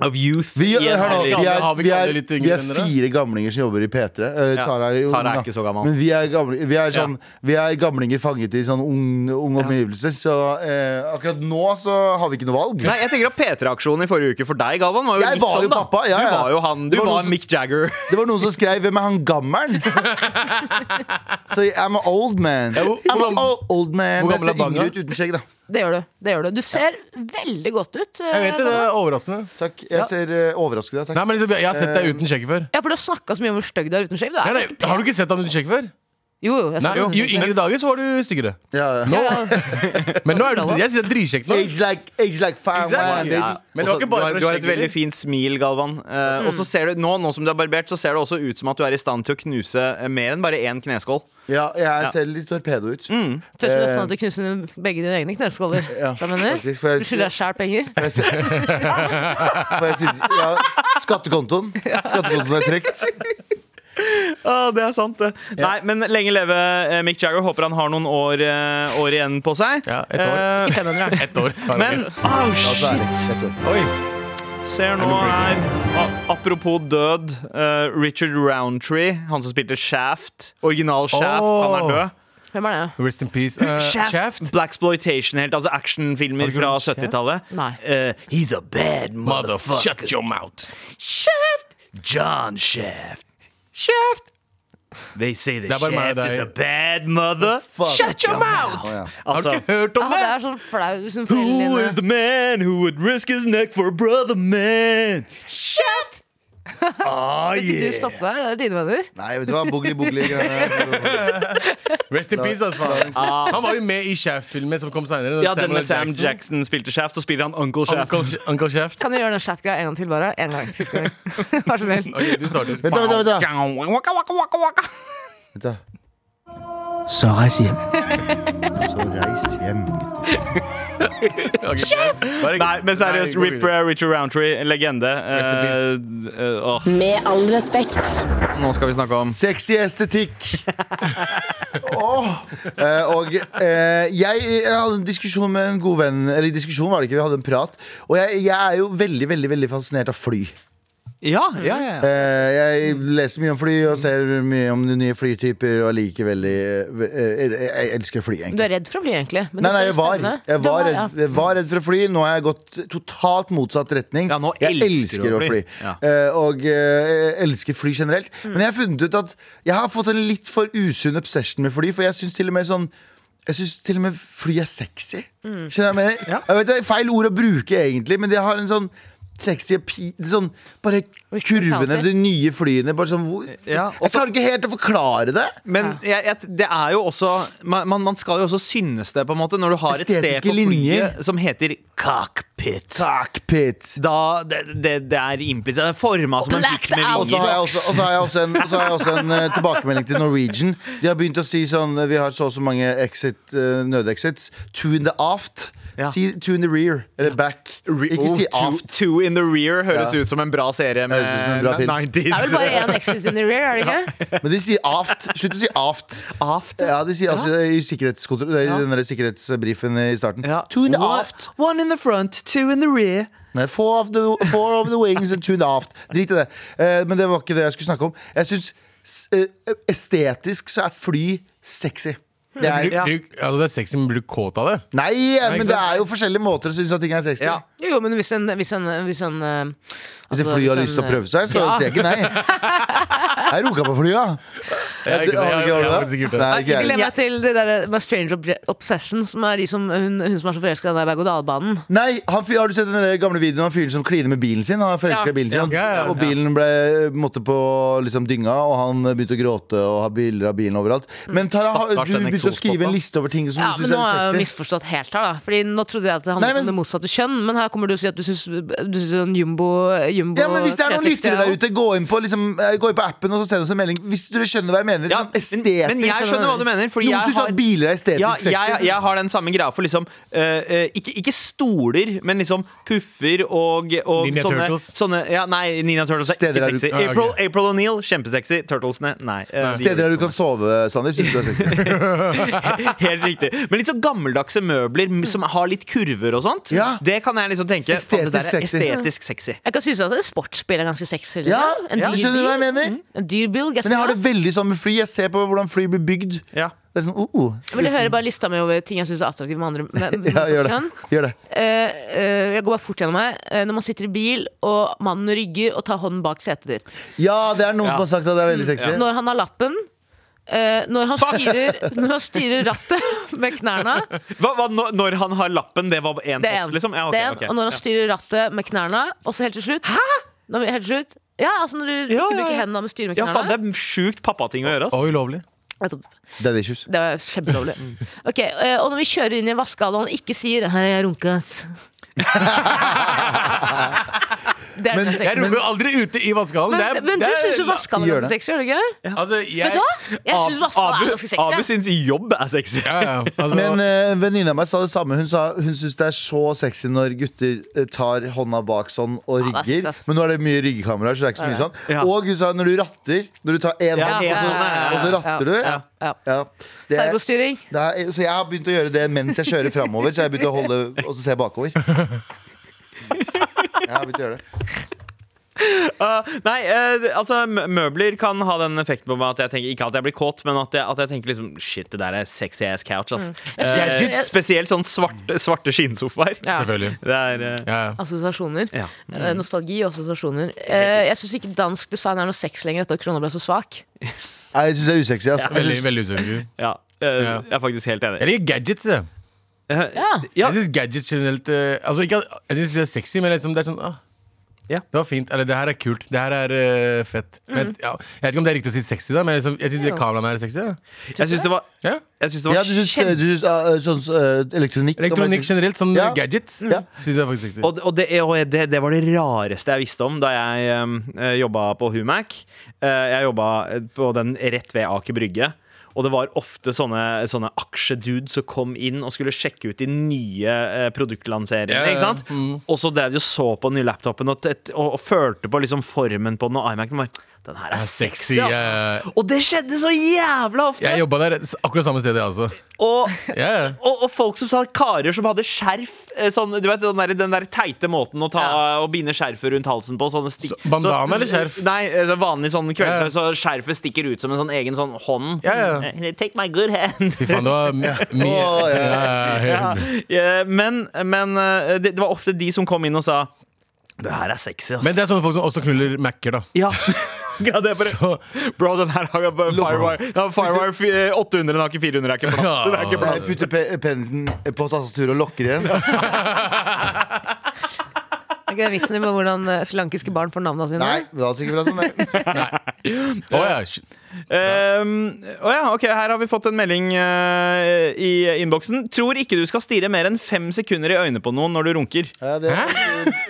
Speaker 3: of Youth?
Speaker 6: Vi,
Speaker 3: i en
Speaker 6: hør nå,
Speaker 3: herlig-
Speaker 6: vi,
Speaker 2: Har
Speaker 6: er,
Speaker 2: vi
Speaker 6: vi,
Speaker 2: gamle
Speaker 6: er,
Speaker 2: litt yngre
Speaker 6: vi er
Speaker 2: venner, da?
Speaker 6: fire gamlinger som jobber i P3. Eller,
Speaker 3: Ja,
Speaker 6: Tara er, jo
Speaker 3: Tara er
Speaker 6: ung, da.
Speaker 3: ikke så gammel.
Speaker 6: Men vi er, gamle, vi er, sånn,
Speaker 3: Ja.
Speaker 6: vi er gamlinger fanget i sånn unge ung omgivelser. Så eh, akkurat nå så har vi ikke noe valg.
Speaker 3: Nei, jeg tenker at P3-aksjonen i forrige uke for deg, Galvan, var jo
Speaker 6: Jeg
Speaker 3: litt
Speaker 6: var
Speaker 3: sånn,
Speaker 6: jo
Speaker 3: da.
Speaker 6: pappa, ja,
Speaker 3: Du
Speaker 6: ja.
Speaker 3: var jo han. Du
Speaker 6: Det var
Speaker 3: var,
Speaker 6: noen som-
Speaker 3: Mick Jagger.
Speaker 6: Det var noen som skrev 'Hvem er han gammelen?' Så jeg- I'm an old man.
Speaker 2: Ja, hvor-
Speaker 6: I'm
Speaker 2: hvor
Speaker 6: an
Speaker 2: gammel-
Speaker 6: old man.
Speaker 2: hvor gammel
Speaker 6: Jeg ser
Speaker 2: er Banga?
Speaker 6: yngre ut uten skjegg, da.
Speaker 4: Det gjør du. det gjør Du Du ser veldig godt ut. eh,
Speaker 2: Jeg vet det, det er overraskende.
Speaker 6: Takk. Jeg ser eh, overraskende ut.
Speaker 2: Nei,
Speaker 6: Takk.
Speaker 2: men liksom, Jeg har sett deg uten skjegg før.
Speaker 4: Ja, for Du har snakka så mye om hvor stygg du er uten skjegg. Du
Speaker 2: Nei,
Speaker 4: er
Speaker 2: nei,
Speaker 4: ganske pen.
Speaker 2: har du ikke sett ham uten skjegg før?
Speaker 4: Jo, jo, jeg
Speaker 2: Nei,
Speaker 4: sa det.
Speaker 2: jo, yngre dager så var du styggere.
Speaker 6: Ja, ja.
Speaker 2: Nå, men nå er du Jeg synes det er dritkjekt nå.
Speaker 6: Age like, age like fire man,
Speaker 2: Exactly.
Speaker 6: baby.
Speaker 3: Ja.
Speaker 2: Men det var
Speaker 3: Også-
Speaker 2: ikke bare
Speaker 3: du, har,
Speaker 2: med Mm.
Speaker 3: du har et
Speaker 2: skjegget
Speaker 3: veldig
Speaker 2: ditt.
Speaker 3: fint smil, Galvan. Eh, Og så ser du, nå, nå som du er barbert, så ser det også ut som at du er i stand til å knuse eh, mer enn bare én kneskål.
Speaker 6: Ja, jeg ser litt torpedo ut.
Speaker 2: Mm.
Speaker 4: Tøys med det er sånn at du knuser dine- begge dine egne kneskåler.
Speaker 6: Ja,
Speaker 4: Hva mener du?
Speaker 6: faktisk, for jeg-
Speaker 4: Du skylder deg sjæl penger.
Speaker 6: For jeg ser- For jeg sitter- ja, skattekontoen. Skattekontoen er trukket.
Speaker 3: Ja, det er sant, det. Nei, men lenge leve eh, Mick Jagger. Håper han har noen år, eh, år igjen på seg.
Speaker 2: Ja, et år.
Speaker 3: Eh,
Speaker 4: Ikke 500.
Speaker 2: Ett år.
Speaker 3: men Au, shit!
Speaker 2: Oi.
Speaker 3: Ser nå her a- Apropos død. eh, Richard Roundtree, han som spilte Shaft. Original Shaft. Han er
Speaker 2: Åh.
Speaker 3: død.
Speaker 4: Hvem er det?
Speaker 2: Rest in peace. Eh, Shaft.
Speaker 3: Blaxploitation helt, altså actionfilmer
Speaker 2: Har du
Speaker 3: fra
Speaker 2: hørt om Shaft?
Speaker 3: 70-tallet.
Speaker 4: Nei.
Speaker 3: Eh, he's a bad
Speaker 2: Mother,
Speaker 3: motherfucker.
Speaker 2: shut your mouth.
Speaker 3: Shaft! John Shaft. Shaft! They say that
Speaker 2: Det er bare meg og
Speaker 3: Shaft is
Speaker 2: deg.
Speaker 3: a bad mother.
Speaker 6: Fuck.
Speaker 3: Shut your mouth!
Speaker 6: Ja, ja.
Speaker 2: Har du
Speaker 3: Altså,
Speaker 2: ikke hørt
Speaker 4: Ah,
Speaker 2: om
Speaker 4: det
Speaker 2: det?
Speaker 4: er sånn flau liksom,
Speaker 3: who
Speaker 4: foreldrene
Speaker 3: is the man who would risk his neck for a brother man? Shaft!
Speaker 2: Ah,
Speaker 4: Vil
Speaker 2: yeah.
Speaker 4: du stoppe her? Det er dine venner.
Speaker 6: Nei, vet du hva, bogli-bogli-greiene.
Speaker 2: Rest in peace, altså. faen. Han var jo med i Shaft-filmen som kom seinere.
Speaker 3: Ja, denne Sam Jackson spilte Shaft, så spiller han Uncle Shaft.
Speaker 2: Uncle, Uncle Shaft.
Speaker 4: Kan du gjøre den Shaft-greia en gang til, bare? En gang, siste gang. Vær så snill.
Speaker 2: Ok, du starter.
Speaker 6: Vent da, vent da, vent da.
Speaker 3: Waka, waka, waka, waka.
Speaker 6: Vent da.
Speaker 1: Så reis hjem.
Speaker 6: Så reis hjem, gutter.
Speaker 2: Ok, bare-
Speaker 3: Nei, men seriøst,
Speaker 2: gå
Speaker 3: Rip
Speaker 2: videre.
Speaker 3: eh, Richard Roundtree, en legende.
Speaker 2: Rest
Speaker 3: Eh, eh, åh,
Speaker 7: Med all respekt.
Speaker 3: nå skal vi snakke om
Speaker 6: Sexy estetikk. Åh. Eh, og eh, jeg, jeg hadde en diskusjon med en god venn. Eller diskusjon var det ikke, vi hadde en prat. Og jeg, jeg er jo veldig, veldig, veldig fascinert av fly.
Speaker 3: Ja, ja, ja. ja.
Speaker 6: Eh, jeg leser mye om fly og ser mye om nye flytyper og liker veldig eh, eh, Jeg elsker fly, egentlig.
Speaker 4: Du er redd for å fly, egentlig. Men
Speaker 6: Nei, nei,
Speaker 4: det
Speaker 6: jeg
Speaker 4: ser
Speaker 6: var,
Speaker 4: spennende.
Speaker 6: jeg,
Speaker 4: Du
Speaker 6: var
Speaker 4: ja.
Speaker 6: redd, jeg var redd for å fly. Nå har jeg gått totalt motsatt retning.
Speaker 3: Ja, nå
Speaker 6: jeg
Speaker 3: elsker du å fly. Ja.
Speaker 6: Eh, og eh, elsker fly generelt.
Speaker 4: Mm.
Speaker 6: Men jeg har funnet ut at jeg har fått en litt for usunn obsession med fly. For jeg syns til og med sånn jeg synes til og med fly er sexy.
Speaker 4: Mm.
Speaker 6: Skjønner du hva jeg mener? Jeg vet, det er feil ord å bruke, egentlig, men det har en sånn sexy api- sånn, Bare kurvene,
Speaker 4: Richard Carter.
Speaker 6: de nye flyene. Bare sånn, hvor,
Speaker 3: Ja,
Speaker 6: jeg klarer ikke helt å forklare det.
Speaker 3: Men jeg, jeg, det er jo også man, man- man skal jo også synes det, på en måte, når du har et sted
Speaker 6: Estetiske
Speaker 3: på
Speaker 6: linjer.
Speaker 3: flyet som heter cockpit.
Speaker 6: Cockpit.
Speaker 3: Da, det, det, det er implisitt. Det er forma som en
Speaker 4: Blacked
Speaker 3: pikt med
Speaker 4: out.
Speaker 6: Og så har
Speaker 3: vinger.
Speaker 6: jeg også, og så har jeg også en, og så har jeg også en eh, tilbakemelding til Norwegian. De har begynt å si sånn eh, Vi har så og så mange exit, eh, nødexits. Two in the aft.
Speaker 3: Ja.
Speaker 6: Si two in the rear. Eller back. Ikke si
Speaker 3: Oh,
Speaker 6: aft.
Speaker 3: Two, two in the rear høres
Speaker 6: Ja.
Speaker 3: ut som en bra serie med
Speaker 6: Høres ut som en bra film.
Speaker 3: 90s.
Speaker 4: Det er vel bare én exit in the rear, er det ikke?
Speaker 6: Men de sier aft. Slutt å si aft.
Speaker 3: Aft.
Speaker 6: Ja, de sier alltid det i sikkerhetskontroll I den der sikkerhetsbrifen i starten.
Speaker 3: Ja.
Speaker 6: Two in the
Speaker 3: One-
Speaker 6: aft.
Speaker 3: One in the front, two in the rear.
Speaker 6: Nei, four, of the, four of the wings and two in the aft. Drit i det. Eh, men det var ikke det jeg skulle snakke om. Jeg synes, s- eh, Estetisk så er fly sexy. Det er,
Speaker 3: Ja.
Speaker 2: Bruk, altså det er sexy, men blir du kåt av det?
Speaker 6: Nei, men
Speaker 3: ikke
Speaker 6: det
Speaker 3: sant?
Speaker 6: er jo forskjellige måter å synes at ting er sexy.
Speaker 3: Ja.
Speaker 4: Jo, jo, men hvis en, hvis en, hvis en eh,
Speaker 6: Hvis et
Speaker 4: altså,
Speaker 6: fly
Speaker 4: hvis en,
Speaker 6: har lyst til å
Speaker 4: eh,
Speaker 6: prøve seg, så sier jeg ikke nei. Jeg roka på flya.
Speaker 2: Jeg har ikke det, jeg- jeg har faktisk ikke gjort det.
Speaker 6: Nei, ikke
Speaker 4: Jeg
Speaker 6: jeg.
Speaker 4: gleder meg eh, til det der med Strange Obje- Obsession, som er de som, hun, hun som er så forelska i den der berg-og-dal-banen.
Speaker 6: Nei, han, fyr- Har du sett den der gamle videoen av fyren som kliner med bilen sin? Han er forelska
Speaker 4: Ja.
Speaker 6: i bilen sin.
Speaker 2: Ja, ja, ja.
Speaker 6: Og bilen ble måtte på liksom, dynga, og han begynte å gråte og har bilder av bilen overalt. Men Tara, har,
Speaker 3: Stakkars
Speaker 6: du
Speaker 3: den
Speaker 6: begynte å skrive
Speaker 3: eksospoppa.
Speaker 6: en liste over ting som
Speaker 4: Mm. Ja,
Speaker 6: du
Speaker 4: men
Speaker 6: syns
Speaker 4: Nå har jeg jo
Speaker 6: er litt sexy.
Speaker 4: misforstått helt her, da. Fordi nå trodde jeg at det handlet
Speaker 6: Nei, men-
Speaker 4: om det motsatte kjønn, men her kommer du og sier at du syns du syns sånn jumbo, jumbo
Speaker 6: Ja, men Hvis det er noen
Speaker 4: 360
Speaker 6: lyttere der ute, gå inn på, liksom, eh, gå inn på appen og så send oss en melding. Hvis dere skjønner hva jeg mener.
Speaker 3: Ja,
Speaker 6: sånn
Speaker 3: men,
Speaker 6: estetisk.
Speaker 3: men jeg skjønner hva du mener. Fordi
Speaker 6: noen
Speaker 3: jeg
Speaker 6: syns
Speaker 3: har-
Speaker 6: at biler er estetisk
Speaker 3: ja,
Speaker 6: sexy.
Speaker 3: Jeg, jeg har den samme greia for liksom eh, eh, ikke, ikke stoler, men liksom puffer og, og
Speaker 2: Ninja
Speaker 3: sånne,
Speaker 2: Turtles.
Speaker 3: sånne ja, Nei, Nina Turtles er
Speaker 6: Steder
Speaker 3: ikke
Speaker 6: der du-
Speaker 3: sexy.
Speaker 2: Ah, ok.
Speaker 3: April, April O'Neill, kjempesexy. Turtlesene, nei. eh, de
Speaker 6: Steder
Speaker 3: gjør
Speaker 6: der du kan sove, Sander, syns du er sexy.
Speaker 3: ikke sånn. Helt riktig. Men litt sånn gammeldagse møbler m- som har litt kurver og sånt,
Speaker 6: Ja.
Speaker 3: det kan jeg liksom tenke. faen, det der
Speaker 6: Estetisk
Speaker 3: er
Speaker 6: sexy.
Speaker 3: Estetisk sexy.
Speaker 4: Jeg kan synes at en sportsbil er ganske sexy.
Speaker 6: Ja,
Speaker 4: Liksom. en
Speaker 6: ja.
Speaker 4: dyr
Speaker 6: Skjønner du hva jeg
Speaker 4: bil. Mm.
Speaker 6: mener?
Speaker 4: En dyr bil, guess
Speaker 6: Men jeg har
Speaker 4: what?
Speaker 6: det veldig sånn med fly. Jeg ser på hvordan fly blir bygd.
Speaker 3: Ja.
Speaker 6: Det er sånn, oh, oh.
Speaker 4: Jeg vil høre bare lista mi over ting jeg syns er attraktive med andre. Med, med
Speaker 6: Ja, gjør det.
Speaker 4: kjønn.
Speaker 6: Gjør det.
Speaker 4: Eh, eh, jeg går bare fort gjennom her. Eh, når man sitter i bil, og mannen rygger og tar hånden bak setet ditt.
Speaker 6: Ja, det er noen som har sagt at det er
Speaker 3: Mm,
Speaker 6: veldig sexy.
Speaker 4: Når han har lappen. eh, når, han styrer, når han styrer rattet med knærne.
Speaker 3: Hva, hva, når, når han har lappen, det var én
Speaker 4: Det er
Speaker 3: post,
Speaker 4: en.
Speaker 3: liksom? Ja, ok,
Speaker 4: det er en.
Speaker 3: ok.
Speaker 4: Og når han styrer rattet med knærne. Og så helt til slutt. Når, vi- helt til slutt ja, altså når du
Speaker 3: Ja,
Speaker 4: ikke
Speaker 3: ja,
Speaker 4: bruker
Speaker 3: ja.
Speaker 4: hendene, men styrer med
Speaker 3: ja,
Speaker 4: knærne.
Speaker 3: faen, det er sjukt pappating å gjøre. ass.
Speaker 2: Og ulovlig.
Speaker 4: Nettopp.
Speaker 6: Daddy issues.
Speaker 4: Det var kjempelovlig. Ok, eh, Og når vi kjører inn i en vaskehall og han ikke sier 'her er jeg runka', ass. det er
Speaker 6: Men-
Speaker 4: den
Speaker 2: Jeg
Speaker 4: sexy.
Speaker 2: roper jo aldri ute i vaskehallen.
Speaker 4: Men,
Speaker 2: Det er-
Speaker 4: men du
Speaker 2: det er-
Speaker 4: syns jo vaskehallen
Speaker 6: gjør
Speaker 4: er ganske
Speaker 6: det.
Speaker 4: sexy, gjør du ikke?
Speaker 2: Altså, jeg
Speaker 4: Vet du hva? Jeg syns vaskehallen er ganske
Speaker 3: Abu
Speaker 4: sexy. jeg.
Speaker 3: syns jobb er sexy.
Speaker 2: Ja, ja. Altså,
Speaker 6: Men eh, venninna mi sa det samme. Hun sa hun syns det er så sexy når gutter eh, tar hånda bak sånn
Speaker 4: Ja,
Speaker 6: og
Speaker 4: det er
Speaker 6: rygger.
Speaker 4: sexy, ass.
Speaker 6: Men nå er det mye ryggekameraer, så det er ikke så mye sånn.
Speaker 3: Ja.
Speaker 6: Og hun sa når du ratter, når du tar én
Speaker 3: Ja, sånn,
Speaker 6: hånd, og,
Speaker 3: ja, ja,
Speaker 6: så-
Speaker 3: ja,
Speaker 6: og så ratter du.
Speaker 4: Ja, ja.
Speaker 6: Ja. Det er,
Speaker 4: Servostyring.
Speaker 6: det er, så jeg har begynt å gjøre det mens jeg kjører framover. Så jeg har begynt å holde og så ser jeg bakover. Jeg har begynt å gjøre det
Speaker 3: Uh, nei, eh, altså mø- møbler kan ha den effekten på meg at jeg tenker Ikke at jeg blir kåt, men at jeg, at jeg tenker liksom Shit, det der er sexy ass couch, ass. Eh,
Speaker 4: Mm. Jeg synes- jeg-
Speaker 3: spesielt sånn svarte, svarte skinnsofaer.
Speaker 4: Ja.
Speaker 2: Selvfølgelig.
Speaker 3: Det er eh,
Speaker 2: Ja, ja.
Speaker 4: Assosiasjoner.
Speaker 3: Ja.
Speaker 4: Eh, Nostalgi og assosiasjoner. Eh, Jeg syns ikke dansk design er noe sex lenger etter at krona ble så svak.
Speaker 6: Nei, Jeg syns det er usexy. ass. Jeg
Speaker 2: Veldig,
Speaker 6: synes-
Speaker 2: veldig usikker.
Speaker 3: ja, eh,
Speaker 2: Ja.
Speaker 3: Jeg er faktisk helt
Speaker 2: Jeg
Speaker 3: enig.
Speaker 2: liker gadgets, jeg.
Speaker 3: Eh,
Speaker 4: Ja.
Speaker 3: ja,
Speaker 2: Jeg syns gadgets generelt eh, Altså, ikke at- Jeg synes det er sexy, men liksom, det er sånn ah,
Speaker 3: Ja.
Speaker 2: Det var fint. Eller det her er kult. Det her er eh, fett. Men, ja, jeg vet ikke om det er riktig å si sexy, da, men liksom, jeg syns
Speaker 4: Jo.
Speaker 2: kameraene her er sexy. da.
Speaker 3: Jeg syns det var,
Speaker 2: Ja.
Speaker 3: jeg syns det
Speaker 6: Ja,
Speaker 3: var
Speaker 6: du syns, du syns eh, sånn eh, elektronikk
Speaker 2: Elektronikk generelt, sånn
Speaker 6: Ja.
Speaker 2: gadgets,
Speaker 6: Ja.
Speaker 2: syns jeg er faktisk sexy.
Speaker 3: Og, og, det, og det, det var det rareste jeg visste om da jeg um, jobba på Humac. Eh, jeg jobba på den rett ved Aker Brygge. Og det var ofte sånne, sånne aksjedudes som kom inn og skulle sjekke ut de nye eh,
Speaker 2: Ja,
Speaker 3: produktlanseringene.
Speaker 2: ja, Mm.
Speaker 3: ikke sant? Og så drev de og så på den nye laptopen og, t- og, og følte på liksom formen på den og iMacen. Var, den her er
Speaker 2: sexy,
Speaker 3: sexy, ass!
Speaker 2: eh.
Speaker 3: Og det skjedde så jævla ofte!
Speaker 2: Jeg jobba der s- akkurat samme sted, jeg også.
Speaker 3: Og
Speaker 2: Ja, ja.
Speaker 3: og, og folk som sa karer som hadde skjerf eh, sånn, Du vet den der, den der teite måten å ta og binde skjerfet rundt halsen på. Sånne stikk,
Speaker 2: Så, bandana eller skjerf?
Speaker 3: Nei, eh, så vanlig sånn
Speaker 2: Ja, ja.
Speaker 3: kveldsskjerf. Så skjerfet stikker ut som en sånn egen sånn hånd.
Speaker 2: Ja, ja.
Speaker 3: Eh, Take my good hand.
Speaker 2: Fy faen, det var mye
Speaker 6: Å, ja,
Speaker 3: Ja, eh, men men eh, det, det var ofte de som kom inn og sa Det her er sexy, ass.
Speaker 2: Men det er sånne folk som også knuller Mac-er, da.
Speaker 3: ja. ja, det er bare
Speaker 2: Så
Speaker 3: Bro, den her har bare Firewire, den har Firewire fi- 800, den har ikke 400, det er ikke plass. Det er ikke
Speaker 6: Jeg
Speaker 3: plass.
Speaker 6: putter pe penisen på tastaturet og lokker igjen.
Speaker 4: Er ikke det vitsen din med hvordan eh, srilankiske barn får navnene sine?
Speaker 6: Nei, det hadde sikkert vært sånn. det.
Speaker 2: Å ja. shit.
Speaker 3: Ehm, Å ja, ok, her har vi fått en melding eh, i innboksen. Tror ikke du skal stirre mer enn fem sekunder i øynene på noen når du runker.
Speaker 6: Ja, det,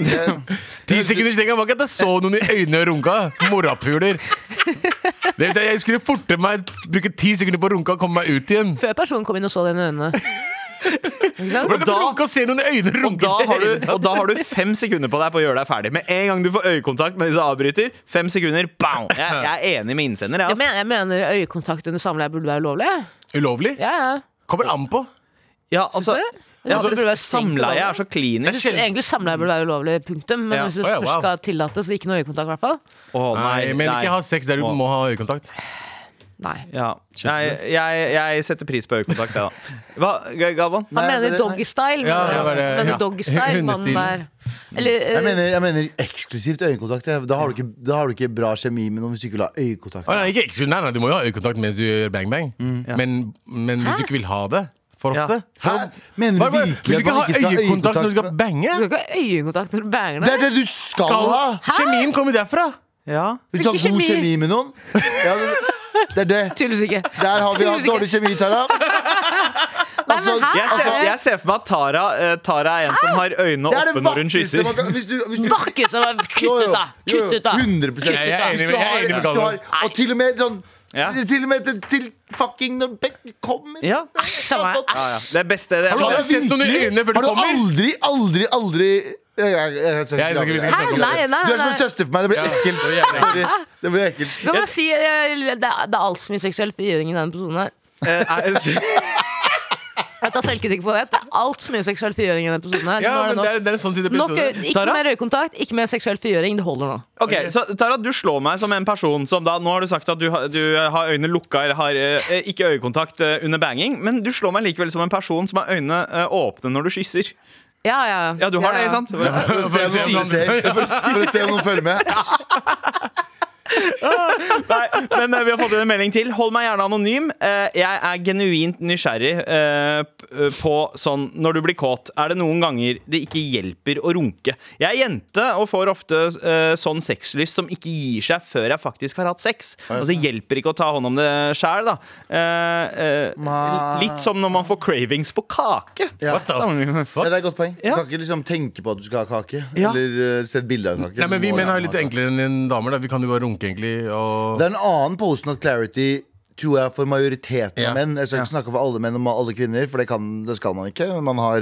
Speaker 6: det,
Speaker 2: Ti sekunders lenger var ikke at jeg så noen i øynene og runka. Morapuler. Det vet jeg, jeg skulle forte meg bruke ti sekunder på å runke og komme meg ut igjen.
Speaker 4: Før personen kom inn og så deg inn i øynene. Ikke sant?
Speaker 2: Hvordan kan du runke og se noen i øynene
Speaker 3: Og da,
Speaker 2: runke?
Speaker 3: har du, og da har du fem sekunder på deg på å gjøre deg ferdig. Med en gang du får øyekontakt med de som avbryter, fem sekunder, bang! Jeg, jeg er enig med innsender. Jeg, altså.
Speaker 4: Jeg
Speaker 3: ass.
Speaker 4: mener, jeg mener øyekontakt under samleie burde være ulovlig.
Speaker 2: Ulovlig?
Speaker 4: Ja, ja.
Speaker 2: Kommer an på.
Speaker 3: Ja, altså,
Speaker 4: Synes du?
Speaker 3: ja,
Speaker 4: Jeg synes det burde
Speaker 3: altså,
Speaker 4: være strengt
Speaker 3: Samleie
Speaker 4: å
Speaker 3: er så
Speaker 4: Jeg
Speaker 3: klinisk.
Speaker 4: synes egentlig samleie burde være ulovlig, punktum. Men
Speaker 3: Ja.
Speaker 4: hvis det
Speaker 2: Å, ja,
Speaker 4: først
Speaker 2: wow.
Speaker 4: skal tillates, så ikke noe øyekontakt i hvert fall.
Speaker 3: Å,
Speaker 2: Nei, men ikke ha sex der du må ha øyekontakt.
Speaker 4: Nei.
Speaker 3: ja. jeg, jeg, jeg setter pris på øyekontakt, jeg, da. Hva, G- Galvan?
Speaker 4: Han
Speaker 6: Nei,
Speaker 4: mener
Speaker 6: det-
Speaker 4: doggystyle.
Speaker 2: Ja,
Speaker 4: men-
Speaker 2: det var det,
Speaker 4: mener
Speaker 2: ja.
Speaker 4: doggystyle, mannen
Speaker 2: Hundestilen.
Speaker 4: der. Eller eh,
Speaker 6: jeg, mener, jeg mener eksklusivt øyekontakt. jeg. Da har, du ikke, da har du ikke bra kjemi med noen hvis du ikke vil ha øyekontakt.
Speaker 2: Å, nei, ikke, ikke, nei, nei, du må jo ha øyekontakt mens du gjør bang-bang.
Speaker 6: Mm.
Speaker 2: Men, men hvis du ikke vil ha det for
Speaker 3: Ja.
Speaker 2: ofte så,
Speaker 6: Hæ? Mener
Speaker 2: Hva-
Speaker 6: du
Speaker 2: hva- Vil
Speaker 6: virkelig
Speaker 2: du
Speaker 6: at
Speaker 2: ikke
Speaker 6: man
Speaker 2: ha
Speaker 6: ikke skal ha
Speaker 2: øyekontakt når du skal
Speaker 6: øyekontakt?
Speaker 2: bange?
Speaker 4: du skal ikke ha øyekontakt når du banger
Speaker 6: Det er
Speaker 4: deg.
Speaker 6: det du skal ha!
Speaker 2: Kjemien kommer derfra!
Speaker 3: Ja.
Speaker 6: Hvis du har
Speaker 4: Ikke
Speaker 6: god
Speaker 4: kjemi.
Speaker 6: kjemi med noen. Ja, det, det er det.
Speaker 4: Tydeligvis ikke.
Speaker 6: Der har vi hatt
Speaker 4: Tydeligvis
Speaker 6: dårlig kjemi, Tara. Altså,
Speaker 4: men her-
Speaker 3: Jeg ser,
Speaker 4: Altså-
Speaker 3: jeg ser for meg at Tara, eh, Tara er en som har øynene
Speaker 6: det er
Speaker 3: oppe
Speaker 6: det
Speaker 3: når hun
Speaker 6: vakreste
Speaker 3: kysser.
Speaker 6: man kan hvis du, hvis du,
Speaker 4: Vakker som er
Speaker 6: Jo, jo,
Speaker 4: Kutt ut, da!
Speaker 6: jo, jo,
Speaker 4: Kutt ut, da!
Speaker 6: 100
Speaker 2: Jeg er enig med-
Speaker 6: Hvis
Speaker 2: jeg
Speaker 6: du
Speaker 2: er
Speaker 6: har-
Speaker 2: enig med
Speaker 6: hvis du
Speaker 2: Galvan.
Speaker 6: har- Og til og med sånn
Speaker 3: Ja.
Speaker 6: Til og med til, til fucking når Beck kommer
Speaker 3: Ja.
Speaker 4: Æsj av meg.
Speaker 3: Ja, ja.
Speaker 4: Æsj.
Speaker 3: Det beste det
Speaker 6: Har
Speaker 3: er
Speaker 6: du
Speaker 2: Har
Speaker 6: aldri-
Speaker 2: du sett noen i øynene før
Speaker 6: Har
Speaker 2: du
Speaker 6: du
Speaker 2: kommer?
Speaker 6: aldri, aldri, aldri Jeg- jeg- jeg- jeg-
Speaker 2: Jeg skal ikke- vi skal
Speaker 4: snakke om det. Hæ? Nei, nei,
Speaker 6: Du er som en
Speaker 4: nei.
Speaker 6: søster for meg. Det blir
Speaker 2: Ja,
Speaker 6: ekkelt.
Speaker 2: det er jævlig.
Speaker 6: Sorry. Det blir ekkelt.
Speaker 4: Kan man si, eh, det er, det er altfor mye seksuell frigjøring i denne episoden her. altså,
Speaker 3: eh,
Speaker 4: Jeg tar selvkritikk på det. Det er altfor mye seksuell frigjøring i denne episoden her.
Speaker 2: Ja,
Speaker 4: Nå er
Speaker 2: men det
Speaker 4: det
Speaker 2: er, det er en sånn type
Speaker 4: nok. Nok,
Speaker 2: episode.
Speaker 4: øye- ikke
Speaker 3: Tara?
Speaker 4: mer øyekontakt, ikke mer seksuell frigjøring. Det holder nå.
Speaker 3: Ok, så Tara, du slår meg som en person som da Nå har du sagt at du, har- du eh, har øynene lukka eller har eh, ikke øyekontakt eh, under banging, men du slår meg likevel som en person som har øynene eh, åpne når du kysser.
Speaker 4: Ja, ja.
Speaker 3: Ja, du har det, ikke sant?
Speaker 6: For å se om noen
Speaker 2: Sier-
Speaker 6: ser. For å se om noen følger med.
Speaker 3: Nei, men eh, vi har fått inn en melding til. Hold meg gjerne anonym. Eh, jeg er genuint nysgjerrig eh, p- på sånn Når du blir kåt, er det noen ganger det ikke hjelper å runke. Jeg er jente og får ofte eh, sånn sexlyst som ikke gir seg før jeg faktisk har hatt sex. Altså Det hjelper ikke å ta hånd om det sjæl, da. Eh, eh,
Speaker 6: Ma-
Speaker 3: litt som når man får cravings på kake.
Speaker 6: Ja.
Speaker 2: What the
Speaker 6: Ja,
Speaker 2: fuck?
Speaker 6: det er et godt poeng. Du
Speaker 3: Ja.
Speaker 6: kan ikke liksom tenke på at du skal ha kake.
Speaker 3: Ja.
Speaker 6: Eller eh, se et bilde av kake.
Speaker 2: Nei, men
Speaker 6: Du
Speaker 2: Vi
Speaker 6: må
Speaker 2: menn er
Speaker 6: gjerne
Speaker 2: litt
Speaker 6: ha kake.
Speaker 2: enklere enn en damer. da Vi kan jo bare runke, egentlig. Og...
Speaker 6: Det er en annen pose not clarity Tror jeg for majoriteten
Speaker 2: Ja.
Speaker 6: av menn. Jeg skal ikke snakke for alle menn og ma- alle kvinner, for det, kan, det skal man ikke. Man har